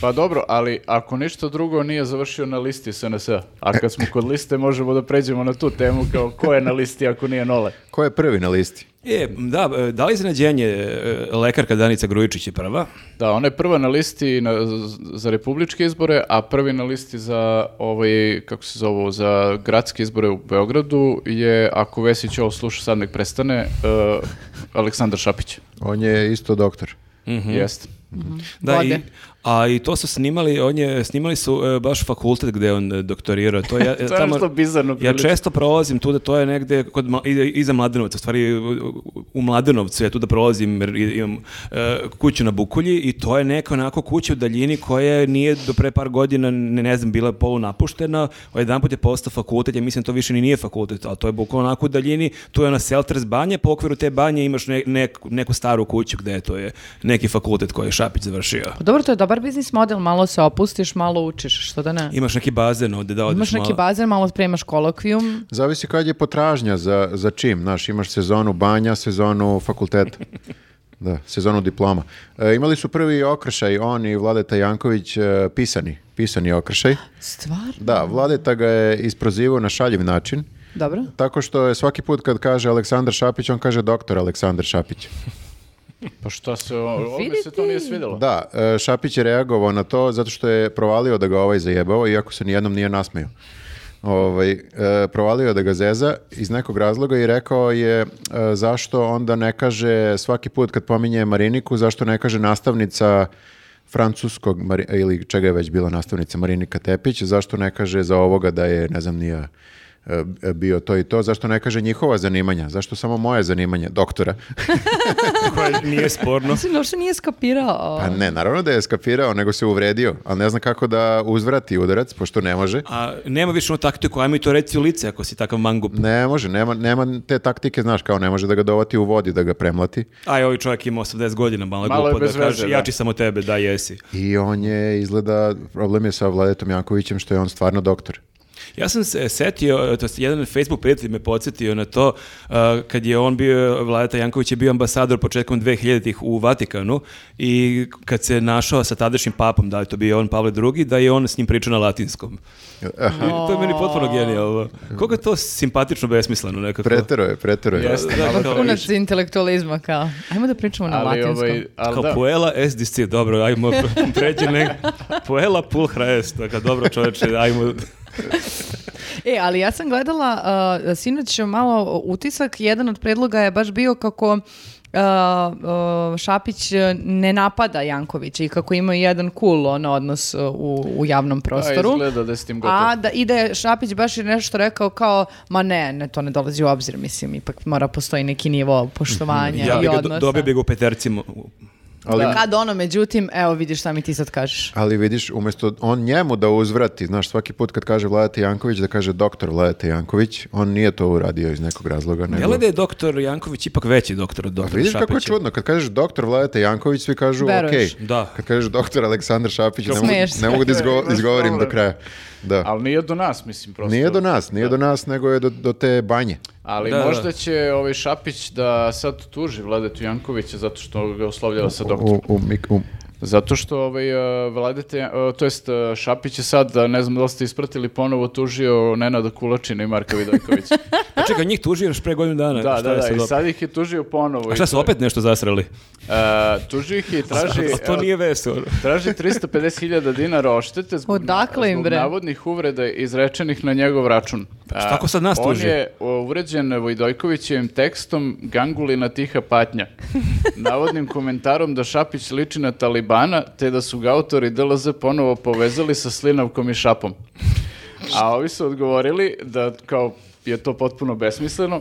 Pa dobro, ali ako ništa drugo nije završio na listi SNS, a kad smo kod liste možemo da pređemo na tu temu kao ko je na listi ako nije nole. Ko je prvi na listi? E, da, e, da li iznenađenje e, lekarka Danica Grujičić je prva? Da, ona je prva na listi na, z- za republičke izbore, a prvi na listi za ovaj, kako se zove, za gradske izbore u Beogradu je, ako Vesić ovo sluša, sad nek prestane, e, Aleksandar Šapić. On je isto doktor. Mhm. Jeste. Da, i, Vode. a i to su snimali, on je, snimali su e, baš fakultet gde je on e, doktorirao. To, ja, To je nešto bizarno Ja prilično. često prolazim tu da to je negde kod, Mla- i- iza Mladenovca, u stvari u- u Mladenovcu ja tu da prolazim jer i- imam e, kuću na Bukulji i to je neka onako kuća u daljini koja nije do pre par godina, ne, ne znam, bila je polunapuštena, jedan put je postao fakultet, ja mislim to više ni nije fakultet, ali to je bukvalno onako u daljini, tu je ona Selters banja, po okviru te banje imaš ne- neku- neku staru kuću gde je to je neki fakultet koji je Šapić završio. Pa Dobro, to je dobar biznis model, malo se opustiš, malo učiš, što da ne. Imaš neki bazen ovde da odiš Imaš neki malo. bazen, malo spremaš kolokvijum. Zavisi kad je potražnja za, za čim. Znaš, imaš sezonu banja, sezonu fakulteta. Da, sezonu diploma. E, imali su prvi okršaj, on i Vladeta Janković, e, pisani, pisani okršaj. Stvar? Da, Vladeta ga je isprozivao na šaljiv način, Dobro. tako što je svaki put kad kaže Aleksandar Šapić, on kaže doktor Aleksandar Šapić. Pa šta se, o- ovdje se to Vidi nije ti. svidjelo. Da, e, Šapić je reagovao na to zato što je provalio da ga ovaj zajebao, iako se nijednom nije nasmeo. Ovaj, e, provalio je da ga zeza iz nekog razloga i rekao je e, zašto onda ne kaže svaki put kad pominje Mariniku, zašto ne kaže nastavnica francuskog Mari- ili čega je već bila nastavnica Marinika Tepić, zašto ne kaže za ovoga da je, ne znam, nije e, bio to i to, zašto ne kaže njihova zanimanja, zašto samo moje zanimanje, doktora. Nije sporno. Mislim, da uopšte nije skapirao. Pa ne, naravno da je skapirao, nego se uvredio, ali ne zna kako da uzvrati udarac, pošto ne može. A nema više onu taktiku, ajmo mi to reci u lice ako si takav mangup. Ne može, nema, nema te taktike, znaš, kao ne može da ga dovati u vodi, da ga premlati. Aj, ovaj čovjek ima 80 godina, malo je Malo je glupo da bez kaže, veze, da. jači sam od tebe, da jesi. I on je, izgleda, problem je sa Vladetom Jankovićem, što je on stvarno doktor. Ja sam se setio, to jest jedan Facebook prijatelj me podsjetio na to, a, kad je on bio, Vladeta Janković je bio ambasador početkom 2000-ih u Vatikanu i kad se našao sa tadašnjim papom, da li to bio on Pavle II, da je on s njim pričao na latinskom. Eh, I to je meni potpuno genijalno. Koliko je to simpatično besmisleno nekako. Pretero je, pretero je. Jeste. Da, kao- Vrhunac intelektualizma, kao. Ajmo da pričamo na Ali, latinskom. ovaj, ali Kao da. Puela SDC, dobro, ajmo pređi nek... Puela Pulhra est, dakle, dobro čoveče, ajmo... E, ali ja sam gledala uh, sinoć malo utisak, jedan od predloga je baš bio kako uh, uh, Šapić uh, ne napada Jankovića i kako ima jedan cool ono, odnos uh, u, u javnom prostoru. A, pa izgleda da je s tim gotovo. A da i da je Šapić baš i nešto rekao kao, ma ne, ne, to ne dolazi u obzir, mislim, ipak mora postoji neki nivo poštovanja Ja i bi ga do- odnosa. dobio bi ga u petercima. Ali, Kad ono, međutim, evo vidiš šta mi ti sad kažeš. ali vidiš, umjesto on njemu da uzvrati, znaš, svaki put kad kaže Vladeta Janković, da kaže doktor Vladeta Janković, on nije to uradio iz nekog razloga. Nego... Jel da je doktor Janković ipak veći doktor od doktora Vidiš kako je Šapića? čudno, kad kažeš doktor Vladeta Janković, svi kažu ok. Veruješ. Da. Kad kažeš doktor Aleksandar Šapić, ne mogu, Smeješ se. ne mogu da izgo- Imaš izgovorim do problem. kraja. Da. Ali nije do nas, mislim, prosto. Nije do nas, nije do nas, nego je do, do te banje. Ali Da, da. možda će ovaj Šapić da sad tuži Vladetu Jankovića zato što ga oslovljava sa doktorom. U, u, mik- u- Zato što ovaj, e, Vladete, e, to jest e, Šapić je sad, da ne znam da li ste ispratili, ponovo tužio Nenada Kulačina i Marka Vidojkovića. A čekaj, Znači, njih tužio još pre godinu dana. da, šta da, je da, sad i opet? sad ih je tužio ponovo. A i šta su to- opet nešto zasrali? E, tužio ih je i traži... A to e, nije veso. Traži 350.000 dinara odštete zbog, Odakle im, zbog bre? navodnih uvreda izrečenih na njegov račun. Pa šta ako sad nas A, tuži? On je o, uvređen Vojdojkovićevim tekstom Gangulina tiha patnja. Navodnim komentarom da Šapić liči na Talibana, te da su ga autori DLZ ponovo povezali sa Slinavkom i Šapom. A ovi su odgovorili da kao je to potpuno besmisleno,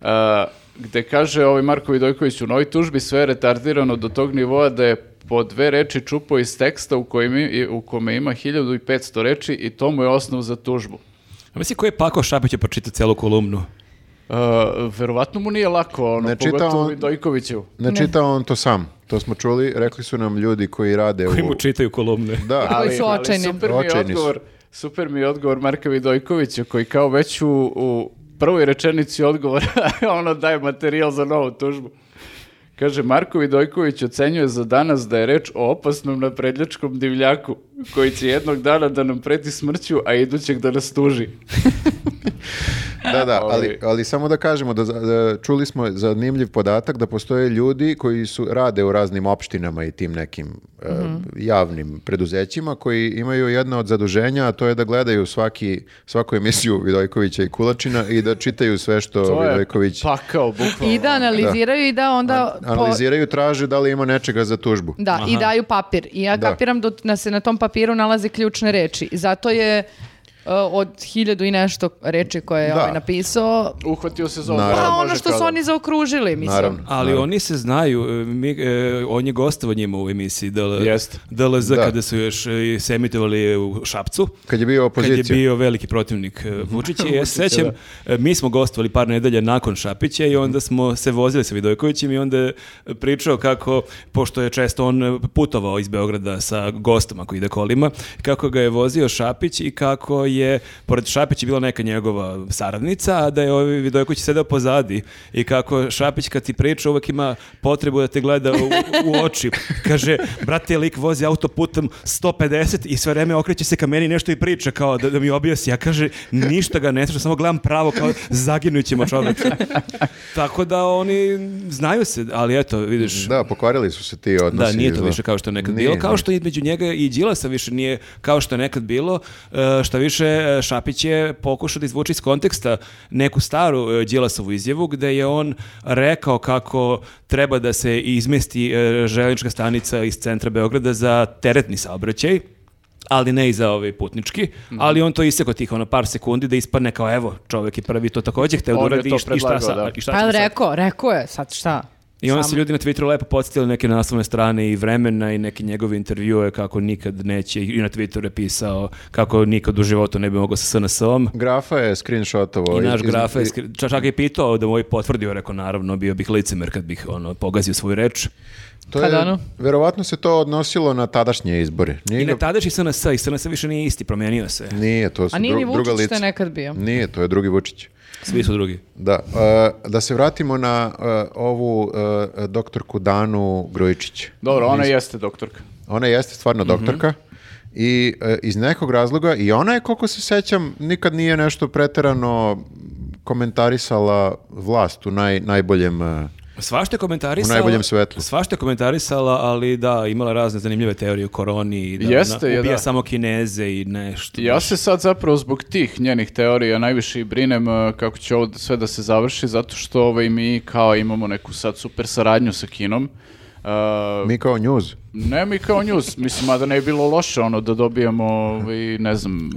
a, gde kaže ovaj Marko Vidojković u novoj tužbi sve je retardirano do tog nivoa da je po dve reči čupo iz teksta u, kojim, i- u kome ima 1500 reči i to mu je osnov za tužbu. A misli koji je Pako Šapić je pročitao celu kolumnu? A, Uh, verovatno mu nije lako, ono, Ne čita pogotovo on- Vidojkoviću. Ne čita on to sam. To smo čuli, rekli su nam ljudi koji rade Koji u... mu čitaju kolumne? Da, Ali, su ali očajni. super mi je Očajni su. odgovor, super mi je odgovor Marka Vidojkovića koji kao već u, u prvoj rečenici odgovora ono daje materijal za novu tužbu. Kaže, Marko Vidojković ocenjuje za danas da je reč o opasnom napredljačkom divljaku koji će jednog dana da nam preti smrću, a idućeg da nas tuži. da, da, ali, Ali- ali samo da kažemo, da, za- da čuli smo zanimljiv podatak da postoje ljudi koji su rade u raznim opštinama i tim nekim e, Mhm. javnim preduzećima koji imaju jedno od zaduženja, a to je da gledaju svaki, svaku emisiju Vidojkovića i Kulačina i da čitaju sve što To je Vidojković pa- pakao, Pa, bukvalno. I da analiziraju i da onda... po- analiziraju, traže da li ima nečega za tužbu. Da, i daju papir. I ja Da. kapiram da na se na tom papiru nalaze ključne reči. I Zato je uh, od hiljadu i nešto reči koje je Da. ovaj napisao, Uhvatio se za ovo. Naravno. pa Može ono što kao su da- oni zaokružili, mislim. Naravno. Ali oni se znaju, e, mi, e, on je gostavo njima u emisiji DL, Jeste. DLZ Da. kada su još e, se emitovali u Šapcu. Kad je bio opozicija. Mhm. Kad je bio veliki protivnik e, Vučića. ja se sećam, e, mi smo gostovali par nedelja nakon Šapića i onda smo se vozili sa Vidojkovićem i onda je pričao kako, pošto je često on e, putovao iz Beograda sa gostom ako ide kolima, kako ga je vozio Šapić i kako je, pored Šapića bila neka njegova saradnica, a da je ovaj Vidojković sedao pozadi i kako Šapić kad ti priča uvek ima potrebu da te gleda u, u oči. Kaže, brate, lik vozi autoputem 150 i sve vreme okreće se ka meni i nešto i priča kao da, da mi objasni. Ja kaže, ništa ga ne sluša, samo gledam pravo kao zaginućemo čoveče. Tako da oni znaju se, ali eto, vidiš, Da, pokvarili su se ti odnosi. da, nije to izgleda. više kao što je nekad Nije, bilo. Kao nije. što između njega i Đilasa više nije kao što je nekad bilo. E, Šta više, e, Šapić je pokušao da izvuče iz konteksta neku staru e, Đilasovu izjavu gde je on rekao kako treba da se izmesti e, željeznička stanica iz centra Beograda za teretni saobraćaj ali ne i za ovaj putnički, Mhm. ali on to isekao tih ono par sekundi da ispadne kao evo, čovek je prvi to takođe hteo da On je uradi to i šta- i šta sad? predlagao, da. I šta Pa ćemo jel sad? rekao, rekao je, sad šta? I onda Samo- su ljudi na Twitteru lepo podsjetili neke naslovne strane i vremena i neke njegove intervjue kako nikad neće i na Twitteru je pisao kako nikad u životu ne bi mogao sa SNS-om. Grafa je screenshotovo. I naš iz- grafa je, iz- skri- ča- čak je pitao da mu je potvrdio, rekao naravno, bio bih licemer kad bih ono, pogazio svoju reč. To Kad je, ono? verovatno se to odnosilo na tadašnje izbore. Nije, I na ga- tadašnji SNS, i SNS više nije isti, promijenio se. nije to su A nije dru- ni druga Vučić lica. što je nekad bio. Nije, to je drugi Vučić. Svi su drugi. Da, e, da se vratimo na e, ovu e, doktorku Danu Grujičić. Dobro, ona jeste doktorka. Ona jeste stvarno Mhm. doktorka i e, iz nekog razloga i ona je, koliko se sećam, nikad nije nešto preterano komentarisala vlast u naj, najboljem... e, Svašta je komentarisala. U najboljem svetlu. Svašta je komentarisala, ali da, imala razne zanimljive teorije o koroni i da Jeste, ona je, ubija da. samo kineze i nešto. Ja se sad zapravo zbog tih njenih teorija najviše i brinem e, kako će ovo sve da se završi, zato što ovaj, mi kao imamo neku sad super saradnju sa Kinom. E, mi kao njuz. Ne mi kao news, mislim, mada ne bi bilo loše ono da dobijemo, ovaj, ne znam,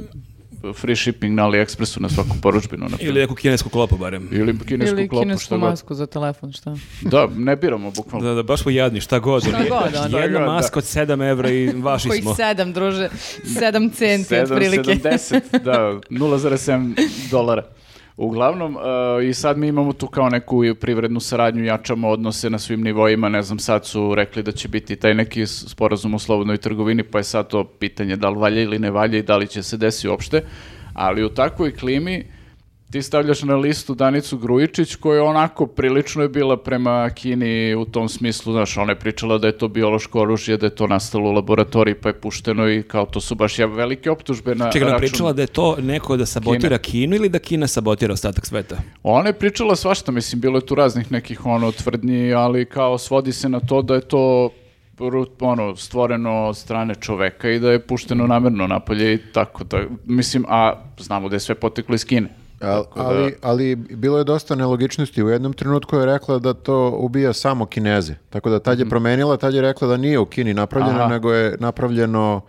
free shipping na AliExpressu na svaku poručbinu. Na Ili neku kinesku klopu barem. Ili kinesku Ili klopu, kinesku što god. masku za telefon, šta? Da, ne biramo, bukvalno. Da, da, baš smo jadni, šta god. Šta god, ono. Šta Jedna god, da. maska od 7 evra i vaši Koji smo. sedam, druže, sedam centi Sedam, otprilike. 70, da, 0,7 dolara. Uglavnom, e, i sad mi imamo tu kao neku i privrednu saradnju, jačamo odnose na svim nivoima, ne znam, sad su rekli da će biti taj neki s- sporazum o slobodnoj trgovini, pa je sad to pitanje da li valja ili ne valja i da li će se desi uopšte, ali u takvoj klimi ti stavljaš na listu Danicu Grujičić koja onako prilično je bila prema Kini u tom smislu, znaš, ona je pričala da je to biološko oružje, da je to nastalo u laboratoriji pa je pušteno i kao to su baš ja velike optužbe na Čekaj, ona račun- pričala da je to neko da sabotira Kinu ili da Kina sabotira ostatak sveta? Ona je pričala svašta, mislim, bilo je tu raznih nekih ono tvrdnji, ali kao svodi se na to da je to ru- ono, stvoreno od strane čoveka i da je pušteno namerno napolje i tako da, mislim, a znamo da je sve poteklo iz Kine. Al- Tako da- ali, ali bilo je dosta nelogičnosti. U jednom trenutku je rekla da to ubija samo Kineze. Tako da tad je promenila, tad je rekla da nije u Kini napravljeno, Mhm. Aha. Mhm. nego je napravljeno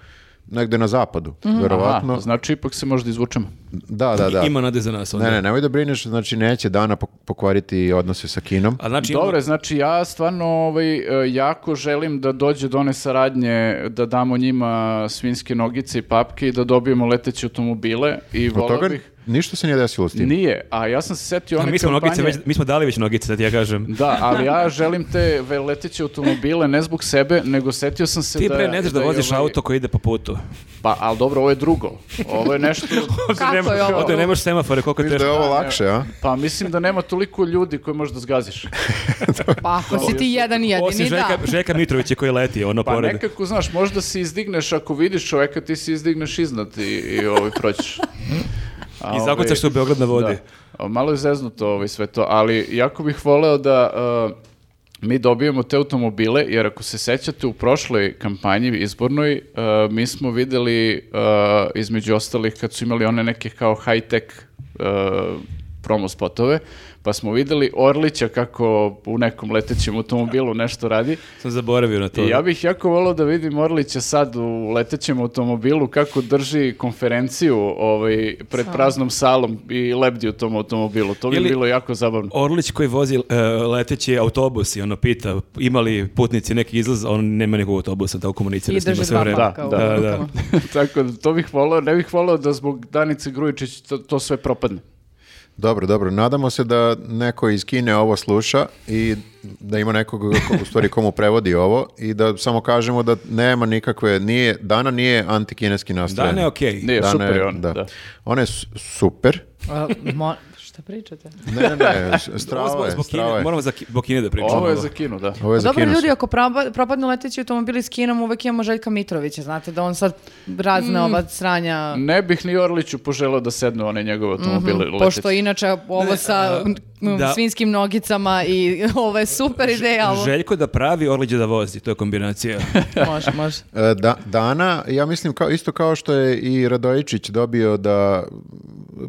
negde na zapadu, verovatno. Aha, znači ipak se možda izvučemo. Da, da, da. Ima nade za nas onda. Ne, ne, nemoj da brineš, znači neće dana pok- pokvariti odnose sa Kinom. A znači, ima- Dobro, znači ja stvarno ovaj, e, jako želim da dođe do one saradnje, da damo njima svinske nogice i papke i da dobijemo leteće automobile i Od volao toga bih... ništa se nije desilo s tim. Nije, a ja sam se setio A one mi smo kampanje- nogice, već, mi smo dali već nogice, da ti ja kažem. Da, ali ja želim te ve- leteće automobile ne zbog sebe, nego setio sam se Ti da... bre ne znaš da je voziš ovaj- auto koji ide po putu. Pa, ali dobro, ovo je drugo. Ovo je nešto... Kako nema, je ovo? Ovdje nemaš semafore, koliko je Viš da teško. je ovo lakše, a? Pa mislim da nema toliko ljudi koje možeš da zgaziš. Pa ako si ti jedan Osim jedini, da. Željka, Željka Mitrovića koji leti, ono Pa pored. nekako, znaš, možda se izdigneš ako vidiš čoveka, ti se izdigneš iznad i, i ovaj, proćeš. A, I zakucaš ovaj, se u Beograd na vodi. Da. A, Malo je zeznuto ovaj, sve to, ali jako bih voleo da uh, mi dobijemo te automobile, jer ako se sećate u prošloj kampanji izbornoj, uh, mi smo videli uh, između ostalih kad su imali one neke kao high-tech uh, promo spotove, pa smo videli Orlića kako u nekom letećem automobilu nešto radi. Sam zaboravio na to. I ja bih jako volao da vidim Orlića sad u letećem automobilu kako drži konferenciju ovaj, pred praznom salom i lebdi u tom automobilu. To bi Ili- bilo jako zabavno. Orlić koji vozi e, leteći autobus i ono pita imali putnici neki izlaz, a on nema nekog autobusa, tako komunicira I s njima drži sve dva vreme. papka u da, da, da. rukama. Tako da to bih volao, ne bih volao da zbog Danice Grujičić to, to sve propadne. Dobro, dobro. Nadamo se da neko iz Kine ovo sluša i da ima nekog ko, u stvari komu prevodi ovo i da samo kažemo da nema nikakve, nije, Dana nije antikineski nastrojen. Dane, okej. Nije, Dana super je- je on. Da. Da. Ona je su- super. A, E, mo- šta pričate? Ne, ne, ne, s- Ovo strava je je, zbog Kine, strava je. moramo za Ki- zbog Kine da pričamo. Ovo je za kino, da. Ovo je za Pa Dobro Kinu. ljudi, ako proba- propadnu leteći automobili s Kinom, uvek imamo Željka Mitrovića, znate da on sad razne ova sranja, mm, Ne bih ni Orliću poželao da sedne u one njegove automobile leteće. pošto inače ovo sa m, da. svinskim nogicama i ovo je super ideja, ali Željko da pravi, Orlić da vozi, to je kombinacija. može, može. E, Da, Dana, ja mislim kao, isto kao što je i Radojičić dobio da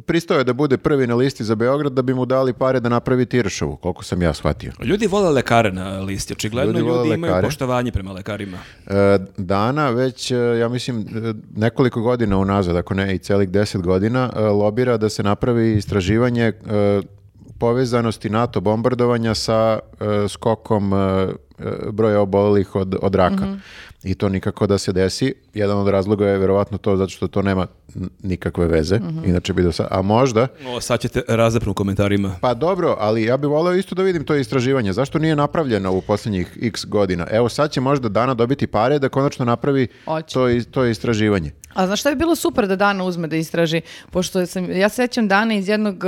pristao je da bude prvi na listi za Beograd da bi mu dali pare da napravi Tiršovu, koliko sam ja shvatio. Ljudi vole lekare na listi, očigledno Ljudi ljudi, vole imaju lekare. poštovanje prema lekarima. E, Dana već, e, ja mislim, e, nekoliko godina unazad, ako ne i celih deset godina, e, lobira da se napravi istraživanje e, povezanosti NATO bombardovanja sa e, skokom e, e, broja obolelih od, od raka. I to nikako da se desi. Jedan od razloga je verovatno to zato što to nema n- nikakve veze. Inače bi do sa- A možda, O, sad ćete razapnu u komentarima. pa dobro, ali ja bih voleo isto da vidim to istraživanje. Zašto nije napravljeno u posljednjih x godina? Evo sad će možda Dana dobiti pare da konačno napravi Hoće. to, i- to istraživanje. A znaš šta bi bilo super da Dana uzme da istraži? Pošto sam, ja sećam Dana iz jednog uh,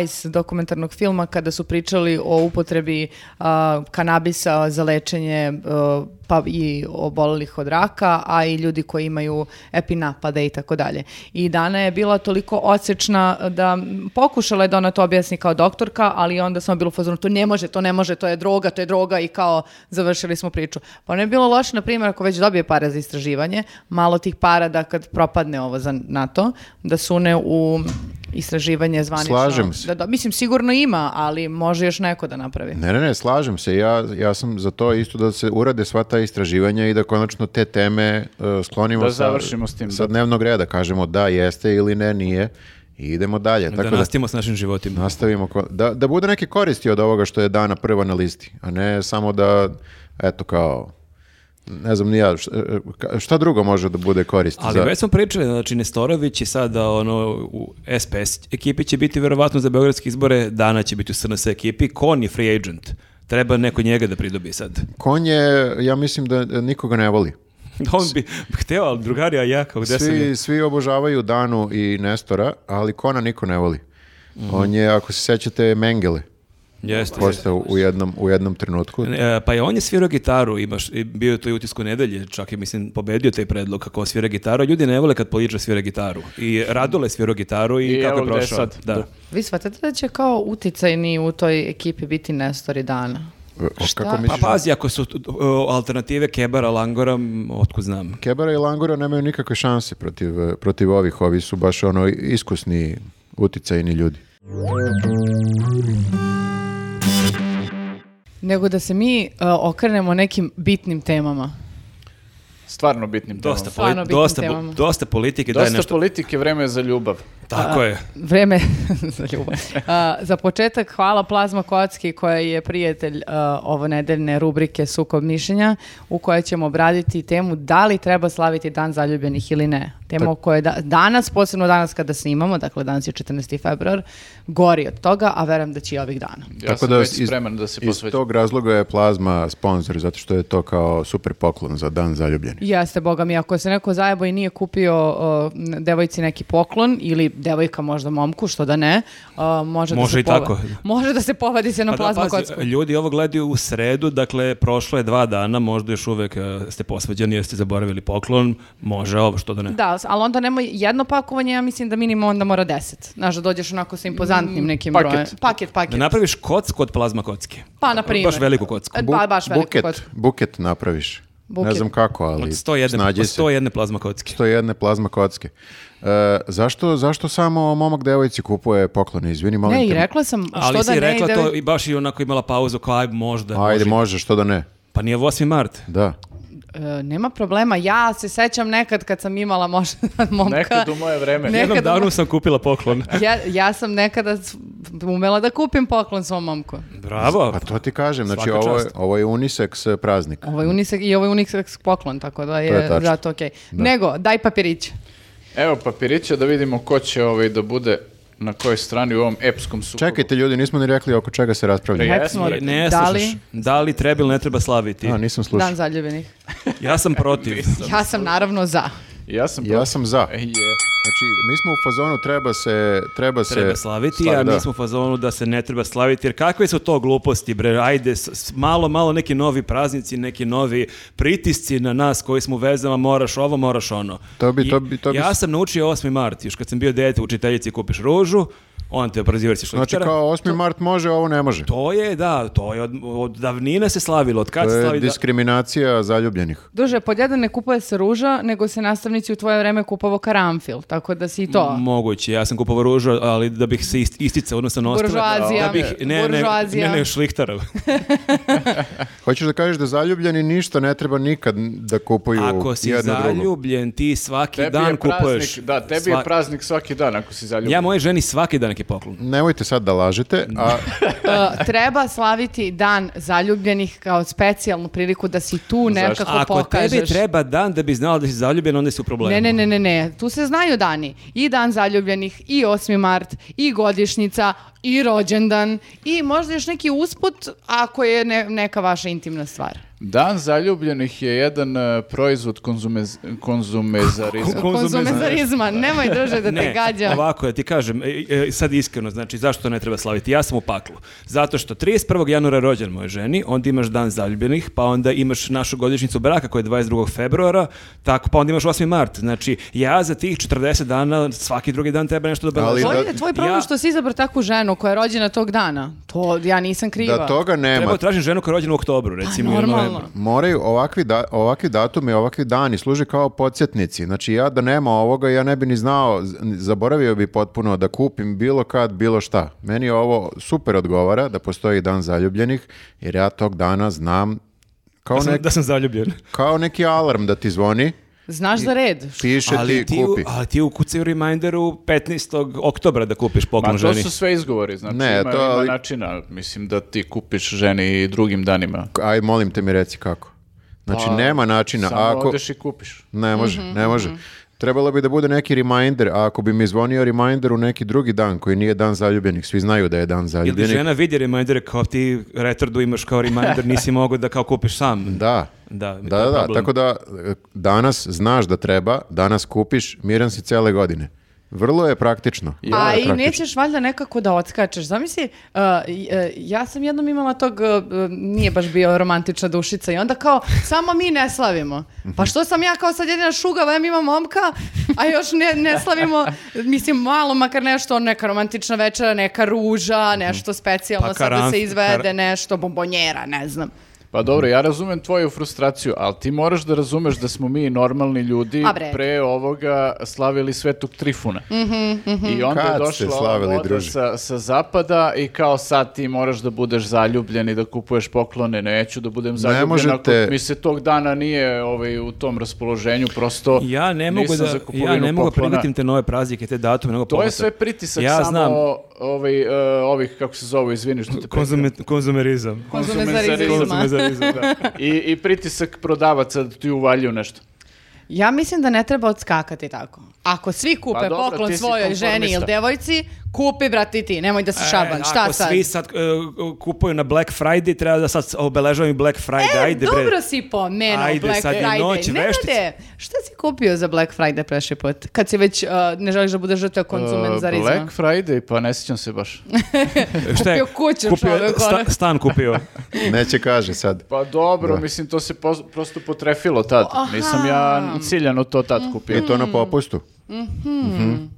Vice dokumentarnog filma kada su pričali o upotrebi uh, kanabisa za lečenje uh, pa i obolelih od raka, a i ljudi koji imaju epinapade i tako dalje. I Dana je bila toliko odsečna da m, pokušala je da ona to objasni kao doktorka, ali onda sam bilo u fazonu, to ne može, to ne može, to je droga, to je droga i kao završili smo priču. Pa ne bi bilo loše, na primjer, ako već dobije pare za istraživanje, malo tih para da kad propadne ovo za NATO, da sune u istraživanje zvanično. Slažem se. Da, do- mislim, sigurno ima, ali može još neko da napravi. Ne, ne, ne, slažem se. Ja, ja sam za to isto da se urade sva ta istraživanja i da konačno te teme uh, sklonimo Da sa- završimo s tim, sa da. dnevnog reda. Kažemo da jeste ili ne, nije i idemo dalje. Da Tako da nastavimo s našim životima. nastavimo. ko- Da, da bude neke koristi od ovoga što je Dana prva na listi, a ne samo da, eto kao, ne znam ni ja, šta, šta drugo može da bude koristi Ali za... već smo pričali, znači Nestorović je sada ono, u SPS ekipi će biti verovatno za beogradske izbore, Dana će biti u SNS ekipi, Kon je free agent. Treba neko njega da pridobi sad. Konj je, ja mislim da e, nikoga ne voli. On bi hteo, ali drugari, a ja kao gde sam ja? Svi, svi obožavaju Danu i Nestora, ali Kona niko ne voli. Mhm. On je, ako se sećate, Mengele Jeste. postao u jednom, u jednom trenutku. E, Pa je on je svirao gitaru, imaš, i bio je to i utisku nedelje, čak je, mislim, pobedio taj predlog kako svira gitaru, a ljudi ne vole kad poliča svira gitaru. I Radole svirao gitaru i, I kako je evo gde je prošao. sad. Da. Da. Vi shvatate da će kao uticajni u toj ekipi biti Nestor i Dana? O, Šta? Kako Pa misliš? pazi, ako su t- o, alternative Kebara, Langora, m, otkud znam. Kebara i Langura nemaju nikakve šanse protiv, e, protiv ovih. Ovi su baš ono iskusni, uticajni ljudi. Nego da se mi uh, okrenemo nekim bitnim temama. stvarno bitnim temama. Dosta, Stvarno poli- bitnim dosta, temama. dosta politike, daj Dosta nešto. politike, vreme je za ljubav. Tako je. Vreme za ljubav. A, za početak, hvala Plazma Kocki koja je prijatelj a, ovo nedeljne rubrike Sukob mišljenja u kojoj ćemo obraditi temu da li treba slaviti dan zaljubljenih ili ne. Tema o Pa- kojoj da, danas, posebno danas kada snimamo, dakle danas je 14. februar, gori od toga, a verujem da će i ovih dana. Ja sam već spreman da se Iz posvetim. tog razloga je Plazma sponsor, zato što je to kao super poklon za dan zaljubljenih. Jeste, boga mi, ako se neko zajebo i nije kupio uh, devojci neki poklon ili devojka možda momku, što da ne, uh, može, da Može se i pova- tako. Može da se povadi se na Pa da, plazma pazi, kocku. ljudi ovo gledaju u sredu, dakle prošlo je dva dana, možda još uvek e, ste posvađani, jeste zaboravili poklon, može ovo, što da ne. Da, ali onda nemoj jedno pakovanje, ja mislim da minimum onda mora deset. Znaš, da dođeš onako sa impozantnim nekim Mm, paket. brojem. Paket, paket. Da napraviš kocku od plazma kocke. Pa, na primjer. Baš veliku kocku. E, Ba, baš veliku buket, kocku. buket napraviš. Ne Buket. znam kako, ali Od 101, snađi od se. 101 plazma kocke. 101 plazma kocke. E, zašto, zašto samo momak devojci kupuje poklone? Izvini, molim Ne, i te. rekla sam, Ali što da si ne rekla ide- to i baš i onako imala pauzu kao aj možda. Ajde, može. može, što da ne. Pa nije 8. mart. Da. E, nema problema, ja se sećam nekad kad sam imala možda momka. Nekad u moje vreme. Ne. Jednom Nekad ono- danu sam kupila poklon. ja, ja sam nekada s- umela da kupim poklon svom momku. Bravo. Pa to ti kažem, znači Svaka ovo je, čast. ovo je unisex e, praznik. Ovo je Ovaj unisex, I ovo je unisex poklon, tako da je, To je tačno. zato okej. Nego, daj papirić. Evo papirića da vidimo ko će ovaj da bude na kojoj strani u ovom epskom sukobu. Čekajte ljudi, nismo ni rekli oko čega se raspravlja. Ej, Kako jesmo smo- rekli. Ne, da slušaš. li Da li treba ili ne treba slaviti? A, nisam slušao. dan zaljubljenih? Ja sam protiv. Ja sam naravno za. Ja sam... Ja sam za. E, je. Znači, mi smo u fazonu treba se... Treba, se Treba slaviti, slavi, a da. mi smo u fazonu da se ne treba slaviti, jer kakve su to gluposti, bre, ajde, s- s- malo, malo neki novi praznici, neki novi pritisci na nas koji smo u vezama, moraš ovo, moraš ono. To bi- I to bi- to bi- Ja sam naučio 8. mart, još kad sam bio dete učiteljici kupiš ružu, on te obraziva jer si Znači šlehtara. kao 8. mart može, ovo ne može. To je, da, to je od, od davnina se slavilo, od kad To se je slavi da... diskriminacija zaljubljenih. Duže, pod jedan ne kupuje se ruža, nego se nastavnici u tvoje vreme kupovo karamfil, tako da si i to. Moguće, ja sam kupovao ružu, ali da bih se ist, isticao, odnosno nosila... Buržoazija, Da bih, ne, ne, buržoazija. ne, ne, šlihtarov. Hoćeš da kažeš da zaljubljeni ništa ne treba nikad da kupuju Ako si jedno drugo. zaljubljen, ti svaki Tebi dan je kupuješ. praznik, da, tebi Sva- je praznik svaki dan ako si zaljubljen. Ja moje ženi svaki dan neki poklon. Nemojte sad da lažete, a E, treba slaviti dan zaljubljenih kao specijalnu priliku da si tu nekako Ako pokažeš. tebi treba dan da bi znala da si zaljubljen, onda si u problemu. Ne, ne, ne, ne, ne. Tu se znaju dani. I dan zaljubljenih, i 8. mart, i godišnjica, i rođendan, i možda još neki usput ako je ne- neka vaša intimna stvar. Dan zaljubljenih je jedan e, proizvod konzumez, konzumezarizma. Konzumezarizma, nemoj druže da te Ne, gađam. ovako ja ti kažem, e, e, sad iskreno, znači zašto ne treba slaviti? Ja sam u paklu. Zato što 31. januara rođen moje ženi, onda imaš dan zaljubljenih, pa onda imaš našu godišnjicu braka koja je 22. februara, tako, pa onda imaš 8. mart. Znači, ja za tih 40 dana, svaki drugi dan treba nešto da Ali Tvoj, da- je- tvoj problem Ja- što si izabrao takvu ženu koja je rođena tog dana. To ja nisam kriva. da toga nema. Treba tražim ženu koja je rođena u oktobru, recimo. ili u Pa, Normalno. novembru. Moraju ovakvi, da, ovakvi datumi, ovakvi dani služe kao podsjetnici. Znači ja da nema ovoga, ja ne bi ni znao, z- zaboravio bi potpuno da kupim bilo kad, bilo šta. Meni ovo super odgovara da postoji dan zaljubljenih, jer ja tog dana znam kao, Da sam, nek- da sam zaljubljen. kao neki alarm da ti zvoni, Znaš za red. piše ti, u- kupi. ali ti ukucaj u reminderu 15. oktobra da kupiš poklon Ma to ženi. su sve izgovori, znači Ne, ima, to, ima ali- načina. Mislim da ti kupiš ženi i drugim danima. Aj, molim te mi reci kako. Znači, nema načina. Samo ako... odeš i kupiš. Ne može, ne može. Trebalo bi da bude neki reminder, a ako bi mi zvonio reminder u neki drugi dan koji nije dan zaljubljenih, svi znaju da je dan Ili zaljubljenih. žena vidi reminder kao ti retardu imaš kao reminder, nisi mogao da kao kupiš sam. Da. Da, to je da, da, da. problem. Tako da e, danas znaš da treba, danas kupiš, miran si cele godine. Vrlo je praktično. A Vrlo je Pa i praktično. nećeš valjda nekako da odskačeš. Zamisli, uh, i, uh, ja sam jednom imala tog, uh, nije baš bio romantična dušica i onda kao, samo mi ne slavimo. Pa što sam ja kao sad jedina šugava, ja imam momka, a još ne, ne slavimo, mislim malo makar nešto, neka romantična večera, neka ruža, nešto specijalno Pa sad da karanf- se izvede, kar- nešto bombonjera, ne znam. Pa dobro, ja razumem tvoju frustraciju, ali ti moraš da razumeš da smo mi normalni ljudi A bre. pre ovoga slavili Svetog Trifuna. I onda Kad je ste došla ova slavili, moda druže? sa, sa zapada i kao sad ti moraš da budeš zaljubljen i da kupuješ poklone. Neću da budem zaljubljen možete- ako mi se tog dana nije ovaj, u tom raspoloženju, prosto Ja ne mogu nisam da za kupovinu ja ne mogu da poklona. primetim te nove praznike, te datume, mnogo To je povratka. sve pritisak Ja samo znam. ovaj, e, ovih, kako se zove, izvini što te prekidam. Konzume- konzumerizam. Konzumezarizma. Konzumezarizam, da. I, I pritisak prodavaca da ti uvaljuju nešto. Ja mislim da ne treba odskakati tako. Ako svi kupe Pa dobro, ti poklon si svojoj ženi ili konformista. devojci, kupi brati ti, nemoj da se E, šaban. Šta ako sad? svi sad e, kupuju na Black Friday, treba da sad obeležavam i Black Friday. E, Ajde, bre. dobro si pomenuo Ajde, Black sad je Friday. noć veštice. Nenade, šta si kupio za Black Friday prešli put? Kad si već uh, ne želiš da budeš žrtva E, konzumenzarizma. E, Black Friday, pa ne sjećam se baš. Šta je? kupio kuću Kupio je čovjek, sta- ono. stan kupio. Neće kaže sad. Pa dobro, mislim, to se pos- prosto potrefilo tad. Nisam ja ciljano to tad kupio. I to na popustu.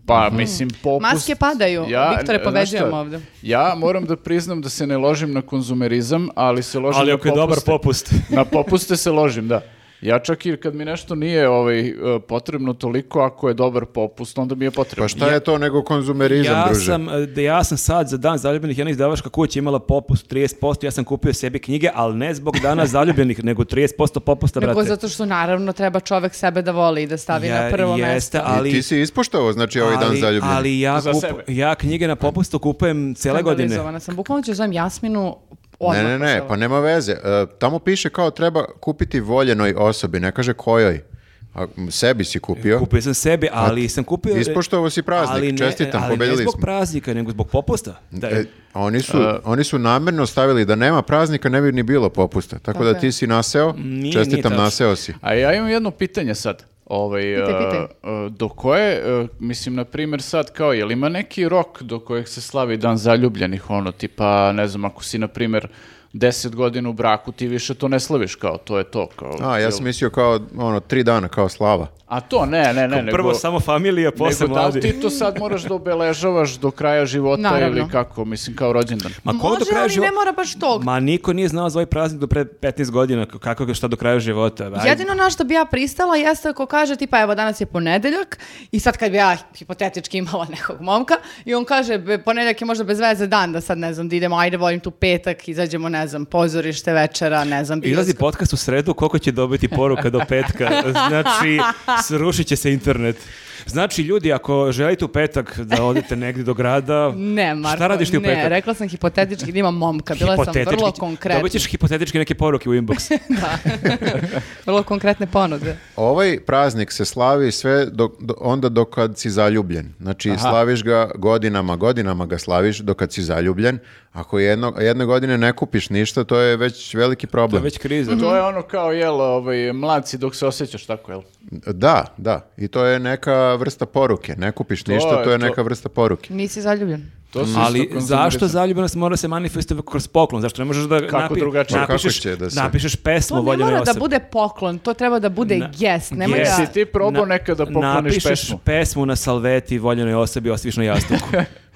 Pa, mislim, popust... e, Maske padaju. Viktore, znaš pobeđujemo šta, ovdje. Ja moram da priznam da se ne ložim na konzumerizam, ali se ložim Ali na ako je dobar popuste. popust. Na popuste se ložim, da. Ja čak i kad mi nešto nije ovaj, e, potrebno toliko, ako je dobar popust, onda mi je potrebno. Pa šta je to nego konzumerizam, ja druže? Sam, e, da ja sam sad za dan zaljubljenih, jedna izdavačka kuća imala popust 30%, ja sam kupio sebi knjige, ali ne zbog dana zaljubljenih, nego 30% popusta, brate. Nego zato što naravno treba čovek sebe da voli i da stavi na Ja- prvo jeste, mjesto. I ti ali, si ispoštovao, znači, ovaj dan ali, zaljubljen. ali ja, Za kup- sebe. ja knjige na popustu kupujem cele godine. Skandalizovana sam. Bukvalno ću zovem Jasminu odmah. Ne, ne, ne, posle pa nema veze. E, tamo piše kao treba kupiti voljenoj osobi, ne kaže kojoj. A, m, sebi si kupio. Kupio sam sebi, ali sam kupio... Ispoštovao si praznik, ali ne- čestitam, ali pobedili ne zbog smo. praznika, nego zbog popusta. Da, E, oni, su, oni su namjerno stavili da nema praznika, ne bi ni bilo popusta. Tako da ti si naseo, Nije, nije čestitam, tačno. naseo si. A ja imam jedno pitanje sad. Ovaj, Pitaj, e, pitaj. e, do koje, e, mislim, na primjer sad, kao, jel ima neki rok do kojeg se slavi dan zaljubljenih, ono, tipa, ne znam, ako si, na primjer, 10 godina u braku, ti više to ne slaviš, kao, to je to, kao. A, ja jel- sam mislio kao, ono, tri dana, kao slava. A to, ne, ne, E, ne, Prvo nego... samo familija, posle Nego da li mladi. ti to sad moraš da obeležavaš do kraja života Naravno. ili kako, mislim kao rođendan. Ma ko Može, do kraja ali živo- ne mora baš tog. Ma niko nije znao za ovaj praznik do pre 15 godina, k- kako ga šta do kraja života. Pa Ajde. Jedino na što bi ja pristala jeste ako kaže tipa evo danas je ponedeljak i sad kad bi ja hipotetički imala nekog momka i on kaže "Be, ponedeljak je možda bez veze dan da sad ne znam da idemo ajde volim tu petak izađemo ne znam pozorište večera ne znam Izlazi bioskop. podcast u sredu, koliko će dobiti poruka do petka? Znači, srušit će se internet. Znači, ljudi, ako želite u petak da odete negdje do grada, Ne, Marko, šta radiš ti u ne, petak? rekla sam hipotetički da imam momka, bila sam vrlo konkretna. Dobit ćeš hipotetički neke poruke u inbox. Da. vrlo konkretne ponude. Ovaj praznik se slavi sve do, do- onda dok kad si zaljubljen. Znači, slaviš ga godinama, godinama ga slaviš dok kad si zaljubljen. Ako jedno, jedne godine ne kupiš ništa, to je već veliki To je problem. već kriza. Mhm. To je ono kao, jel, ovaj, mlad si dok se osjećaš tako, jel? Da, da. I to je neka vrsta poruke. Ne kupiš je ništa, to je to. neka vrsta poruke. Nisi zaljubljen. To su isto Ali konzumerizam. zašto zaljubljenost mora se manifestovati kroz poklon? Zašto ne možeš da Kako drugačije? Kako napišeš, će da se- napišeš pesmu To ne voljenoj mora da osobi? bude poklon, to treba da bude Na- gest. Nemoj Jest. da... Jesi ti probao nekada pokloniš napišeš pesmu? na salveti voljenoj osobi ostaviš na jastuku.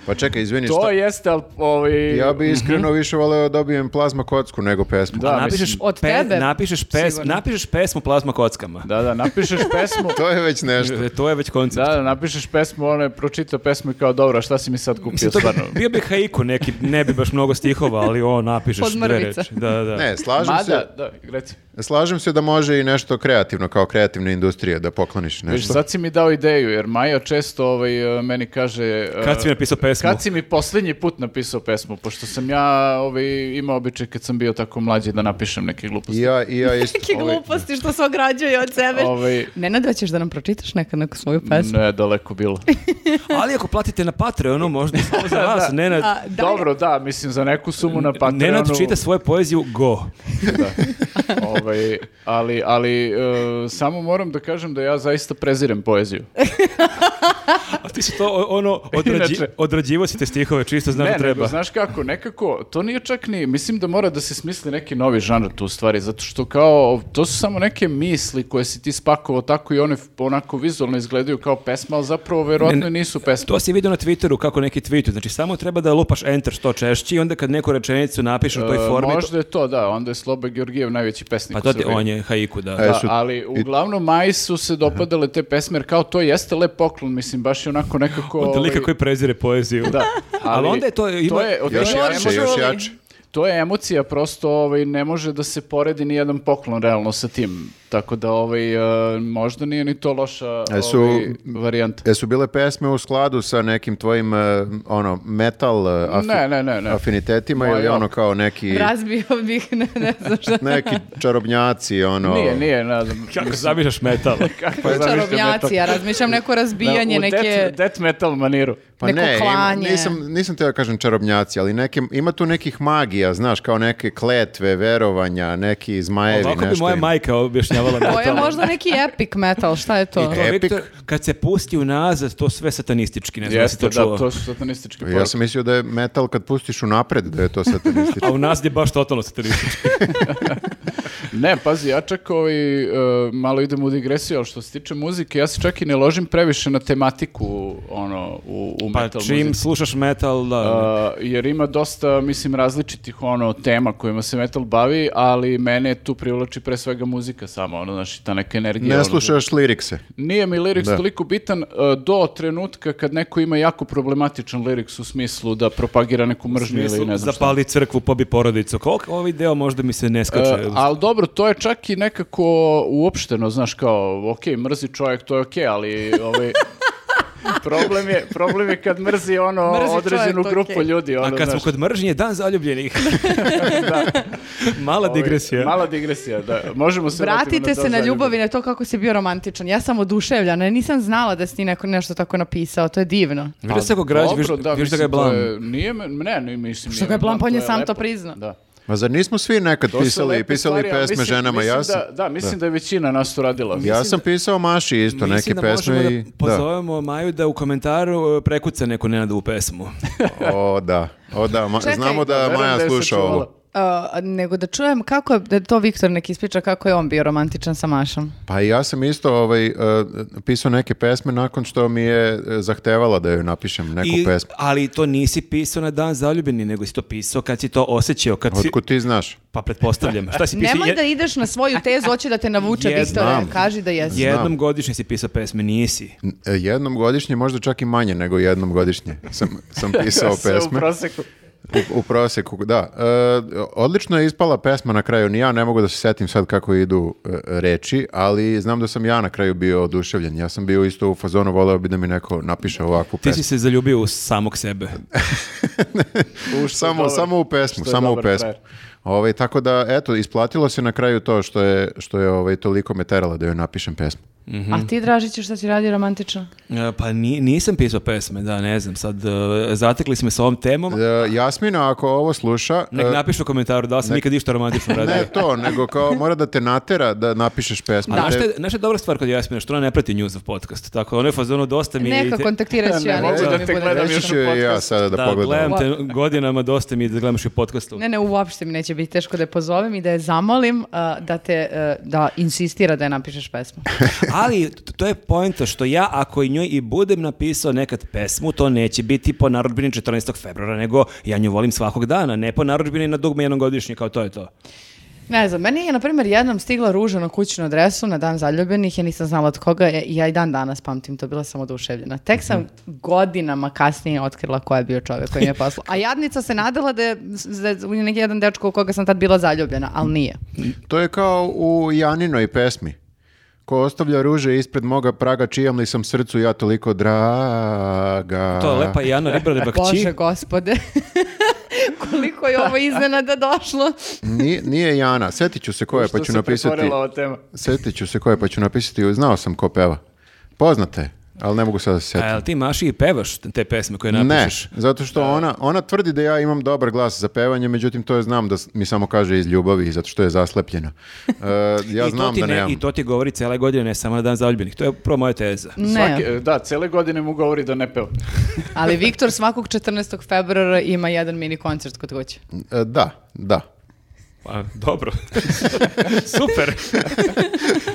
Pa čekaj, izvini, To šta? jeste, ali ovaj... Ja bi iskreno više voleo da dobijem plazma kocku nego pesmu. Da. napišeš, mislim- Od tebe, napišeš, pes, sigurno. napišeš pesmu plazma kockama. Da, da, napišeš pesmu... To je već nešto. E, To je već koncept. Da, da, napišeš pesmu, ono je pročitao pesmu i kao, dobro, a šta si mi sad kupio Mislim, to bi- stvarno? bio bi haiku neki, ne bi baš mnogo stihova, ali o, napišeš dve Podmornica. reči. Da, da. Ne, slažem se, Mada, da, reci. slažem se da može i nešto kreativno, kao kreativna industrija, da pokloniš Viš, nešto. sad si mi dao ideju, jer Maja često ovaj, meni kaže... Kad si mi eh, napisao pesmu? Kad si mi posljednji put napisao pesmu, pošto sam ja ovaj, imao običaj kad sam bio tako mlađi da napišem neke I gluposti. ja, i ja isto. Neki gluposti što se ograđuje od sebe. Ovaj, Nenad, hoćeš da nam pročitaš nekad neku svoju pesmu? ne, daleko bilo. Ali ako platite na Patreonu, možda samo za vas, Nenad, A, dalje- Dobro, da, mislim, za neku sumu na Patreonu. Nenad čita svoju poeziju Go. ovaj, ali e, ali eh, samo moram da kažem da ja zaista prezirem poeziju. ti si to o- ono, odrađi, Inače- odrađivo si te stihove, čisto znam da Ne, treba. nego, znaš kako, nekako, to nije čak ni, mislim da mora da se smisli neki novi žanr tu u stvari, zato što kao, to su samo neke misli koje si ti spakovao tako i one f- onako vizualno izgledaju kao pesma, ali zapravo verovatno Ne, i nisu pesme. To si vidio na Twitteru kako neki tweetu, znači samo treba da lupaš enter što češće i onda kad neku rečenicu napišeš u toj E, formi, Možda je to, da, onda je Sloba Georgijev najveći pesnik pa u to ti, Srbiji. on je haiku, da. E, Da, su- ali uglavnom Maji su se dopadale te pesme, jer kao to jeste lep poklon, mislim, baš je onako nekako... Od lika ovaj, koji prezire poeziju. Da, Ali onda je to- ima- od Još toga jače, ne još može- jače. To je emocija, prosto ovaj, ne može da se poredi ni jedan poklon realno sa tim. Tako da ovaj, e, možda nije ni to loša E, su- ovaj, varijanta. Jesu bile pesme u skladu sa nekim tvojim e, ono metal e, afi- Ne, ne, ne, ne. afinitetima Ma, ili ja. ono kao neki Razbio bih, ne, ne znam šta. neki čarobnjaci ono Nije, nije, ne znam. Kako zamišljaš metal? Pa ja zamišljam Čarobnjaci, ja razmišljam neko razbijanje, u neke... death, death metal maniru. pa neko ne, im- klanje. nisam nisam teo da kažem čarobnjaci, ali neke ima tu nekih magija, znaš, kao neke kletve, verovanja, neki zmajevi, Ovako bi nešto moja ima. majka objašnjavala To je metal. možda neki epic metal, šta je to? To, Epic. Viktor, kad se pusti unazad, to sve satanistički, ne znam da si Jeste, to čuo. da, to su satanističke Ja sam mislio da je metal kad pustiš unapred da je to satanistički. A unazad je baš totalno satanistički. Ne, pazi, ja čak ovaj, e, malo idem u digresiju, ali što se tiče muzike, ja se čak i ne ložim previše na tematiku ono, u, u Pa metal čim muzici. slušaš metal, da. Uh, jer ima dosta, mislim, različitih ono tema kojima se metal bavi, ali mene tu privlači pre svega muzika samo, ono, znaš, ta neka energija. Ne ono. slušaš lirikse. Nije mi liriks Da. toliko bitan uh, do trenutka kad neko ima jako problematičan liriks u smislu da propagira neku U mržnju smislu, ili ne znam šta. zapali crkvu, pobi porodicu. Koliko ovaj deo možda mi se ne skače? E, ali dobro, to je čak i nekako uopšteno, znaš, kao, ok, mrzi čovjek, to je ok, ali ovaj, problem, je, problem je kad mrzi ono Mrzi čovjek, određenu to je grupu okej. ljudi. Ono, A kad smo znaš. kod mržnje, dan zaljubljenih. Mala Ovaj, digresija. Mala digresija, da. Možemo se vratiti Vratite to se na zaljubljeno. ljubavine, to kako si bio romantičan. Ja sam oduševljena, nisam znala da si ti neko nešto tako napisao, to je divno. Viš da se ako građi, Dobro, viš, da, viš da ga je mislim, to blam. Nije, me- ne, ne, mislim. Što nije ga je me blam, pa on je to sam to lepo. priznao. Da. Ma zar nismo svi nekad To su pisali, lepe pisali stvari, ali pesme mislim- ženama? mislim ja sam, Da, da, mislim da. je većina nas to radila. ja sam pisao Maši isto Mislim neke da pesme možemo i... da pozovemo Maju da u komentaru e, prekuca neku Nenadu u pesmu. O da, o da, ma- Čekaj. znamo da Verujem Maja je sluša sačuvala. ovo. A, nego da čujem kako je, da to Viktor nek ispriča kako je on bio romantičan sa Mašom. Pa i ja sam isto ovaj, eh, pisao neke pesme nakon što mi je eh, zahtevala da joj napišem neku I, pesmu. ali to nisi pisao na dan zaljubljeni, nego si to pisao kad si to osjećao, kad si, Otkud ti znaš? pa pretpostavljam. Šta si pisao? Nemoj Je- da ideš na svoju tezu, hoće da te navuče Jedna. Viktore, Znam. kaži da jesi. Jednom godišnje si pisao pesme, nisi. N- eh, Jednom godišnje, možda čak i manje nego jednom godišnje sam, sam pisao Sve u pesme. proseku. U, u proseku, da. E, odlično je ispala pesma na kraju. Ni ja ne mogu da se setim sad kako idu e, reči, ali znam da sam ja na kraju bio oduševljen. Ja sam bio isto u fazonu, voleo bi da mi neko napiše ovakvu Ti pesmu. si se zaljubio u samog sebe. E. U, što je Samo, dobar. samo u pesmu, Što je samo u dobar pesmu. frajer. Ovaj, tako da, eto, isplatilo se na kraju to što je, što je ovaj, toliko me terala da joj napišem pesmu. Mhm. A ti, Dražiću, šta si radio romantično? E, Pa ni- nisam pisao pesme, da, ne znam. Sad, e, zatekli smo se ovom temom. E, Jasmina, ako ovo sluša... Nek e, napišu u komentaru da li sam nikad išta romantično radio. ne to, nego kao mora da te natera da napišeš pesmu. A znaš Te- šta je- znaš šta je dobra stvar kod Jasmina, što ona ne prati njuzov podcast. Tako, ona je fazonu dosta mi... je i Neka te- kontaktiraš Ne, ja, mogu neću da mi te bude gledam teško. Reći ću je i ja sada da, Da, pogledam. gledam te godinama, dosta mi je da gledaš i u podcastu. Ne, ne, uopšte mi neće biti teško da je pozovem i da je zamolim a, da te, e, da insistira da je napišeš pesmu. Ali t- to je poenta što ja ako i njoj i budem napisao nekad pesmu, to neće biti po narudbini 14. februara, nego ja nju volim svakog dana, ne po narudbini na dugme jednom godišnje, kao to je to. Ne znam, meni je, na primjer, jednom stigla ruža na kućnu adresu na dan zaljubljenih, ja nisam znala od koga je i ja i dan danas pamtim to, bila sam oduševljena. Tek sam godinama kasnije otkrila ko je bio čovjek koji mi je poslao. A jadnica se nadala da je, da je neki jedan dečko u koga sam tad bila zaljubljena, ali nije. To je kao u Janinoj pesmi. Ko ostavlja ruže ispred moga praga, čijam li sam srcu ja toliko draga. To je lepa Jana Ribareva kći. E, Bože gospode, koliko je ovo iznenada došlo. Nije, nije Jana, setit ću se ko je, Što pa ću se napisati. pretvorila ova tema. Setit ću se ko je, pa ću napisati. Znao sam ko peva. Poznata je. ali ne mogu sad da se A setim. jel ti maši i pevaš te pesme koje Ne, napišeš? zato što ona, ona tvrdi da ja imam dobar glas za pevanje, međutim to je znam da s- mi samo kaže iz ljubavi, zato što je zaslepljena. E, ja I to znam ti da nemam. I to ti govori cele godine, ne samo na dan zaljubljenih. To je prvo moja teza. Ne, Svake, da, cele godine mu govori da ne peva. ali Viktor svakog 14. februara ima jedan mini koncert kod kuće. E, da, da. Pa, dobro. Super.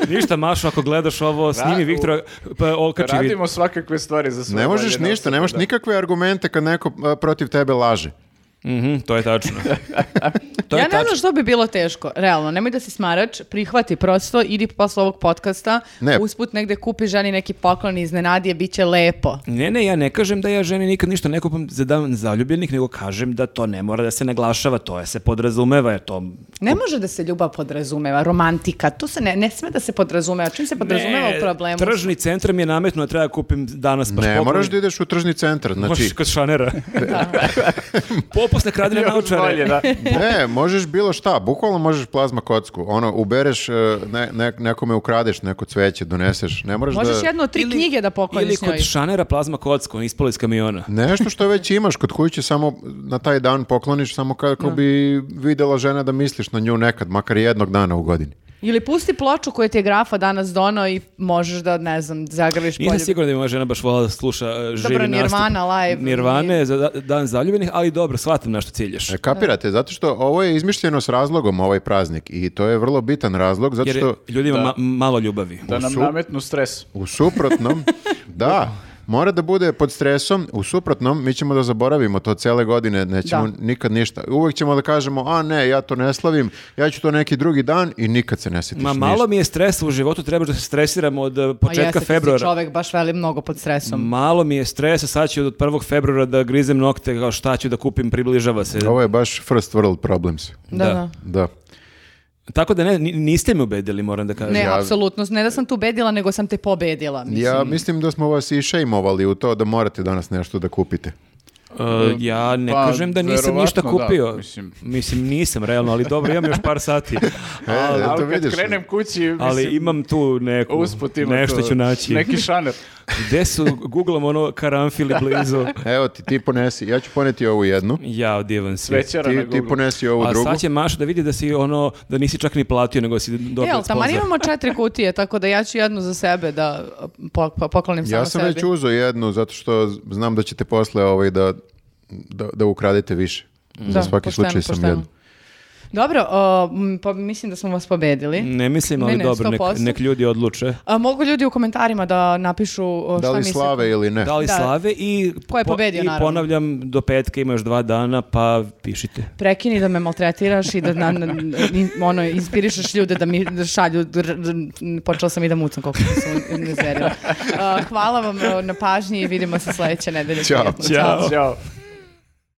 Ništa, Mašo, ako gledaš ovo, snimi u- Viktora, pa okači vid- Radimo svakakve stvari za svoje Ne možeš voljene ništa, osobe, nemaš da. nikakve argumente kad neko e, protiv tebe laže. Mhm, to je tačno. to ja je ne znam tačno. što bi bilo teško, realno, nemoj da si smarač, prihvati prosto, idi posle ovog podcasta, Ne. usput negde kupi ženi neki poklon i iznenadi je, bit će lepo. Ne, ne, ja ne kažem da ja ženi nikad ništa ne kupam za dan zaljubljenih, nego kažem da to ne mora da se naglašava, to je se podrazumeva, jer to... Ne može da se ljubav podrazumeva, romantika, to se ne, ne sme da se podrazumeva. Čim se podrazumeva u problemu? Tržni centar mi je nametno da treba kupim danas baš Ne poklon. moraš da ideš u tržni centar, Pa Možeš znači, kod šanera. Popusne kradine Još bolje, naučare. da. ne, možeš bilo šta, bukvalno možeš plazma kocku, ono, ubereš, e, ne, ne- nekome ukradeš neko cveće, doneseš, ne moraš Možeš da... jednu od Ono, tri knjige da Ili pokloniš njoj. kod šanera plazma kocku, on ispalo iz kamiona. Nešto što već imaš kod kuće, samo na taj dan pokloniš, samo kako bi videla žena da misliš na nju nekad, makar jednog dana u godini. Ili pusti ploču koju ti je grafa danas donao i možeš da, ne znam, zagraviš Nisam polje. siguran da bi moja žena baš volala da sluša e, živi Nirvana live Nirvane nije- za da- dan zaljubljenih, ali dobro, shvatam na što ciljaš. E, Kapirate, zato što ovo je izmišljeno s razlogom ovaj praznik i to je vrlo bitan razlog, zato Jer što ljudima ma- malo ljubavi. Da nam su- nametnu stres. u suprotnom, da, mora da bude pod stresom, u suprotnom mi ćemo da zaboravimo to cele godine, nećemo Da. nikad ništa. Uvek ćemo da kažemo, a ne, ja to ne slavim, ja ću to neki drugi dan i nikad se ne sjetiš Ma malo mi je stresa u životu, trebaš da se stresiram od e, A jeste, početka ti si februara. čovek baš veli mnogo pod stresom. Malo mi je stresa, sad ću od 1. februara da grizem nokte, kao šta ću da kupim, približava se. ništa. Ovo je baš first world problems. Da, da. da. Da. Tako da ne, ni- niste me ubedili, moram da kažem. Ne, apsolutno. Ne da sam tu bedila, nego sam te pobedila. Mislim. Ja mislim da smo vas i šejmovali u to da morate danas nešto da kupite. E, ja ne Pa, kažem da nisam verovatno ništa da, kupio. mislim. mislim. nisam, realno, ali dobro, imam još par sati. E, Ali eto kad vidiš. krenem kući, mislim, Ali imam tu neku, usput ima nešto to, ću naći. Neki šaner. Gde su, googlam ono karanfili blizu. Evo ti, ti ponesi, ja ću poneti ovu jednu, Ja, divan si. Svećara ti, na ti Google. ponesi ovu A drugu. sad će Maša da vidi da si ono, da nisi čak ni platio, nego si E, dobio ali od tamo sponzora. imamo četiri kutije, tako da ja ću jednu za sebe da po- po- poklonim samo Ja sam sebi. već uzeo jednu, zato što znam da ćete posle ovaj da, da, da ukradete više. Za svaki pošteno, slučaj sam pošteno. jednu. Dobro, o, m, pa mislim da smo vas pobedili. Ne mislim, ali Ne, ne, dobro, nek, 100%. nek ljudi odluče. A, mogu ljudi u komentarima da napišu o, Da Pa šta li misle? slave ili ne? Da li Da. slave i, Ko je pobedio, i naravno. ponavljam, do petka ima još dva dana, pa pišite. Prekini da me maltretiraš i da na, na- in- ono, inspirišeš ljude da mi da šalju, dr- dr- počela sam i da mucam koliko sam nezverila. hvala vam o, na pažnji i vidimo se sledeće nedelje. Ćao. Prijatno. Ćao. Ćao.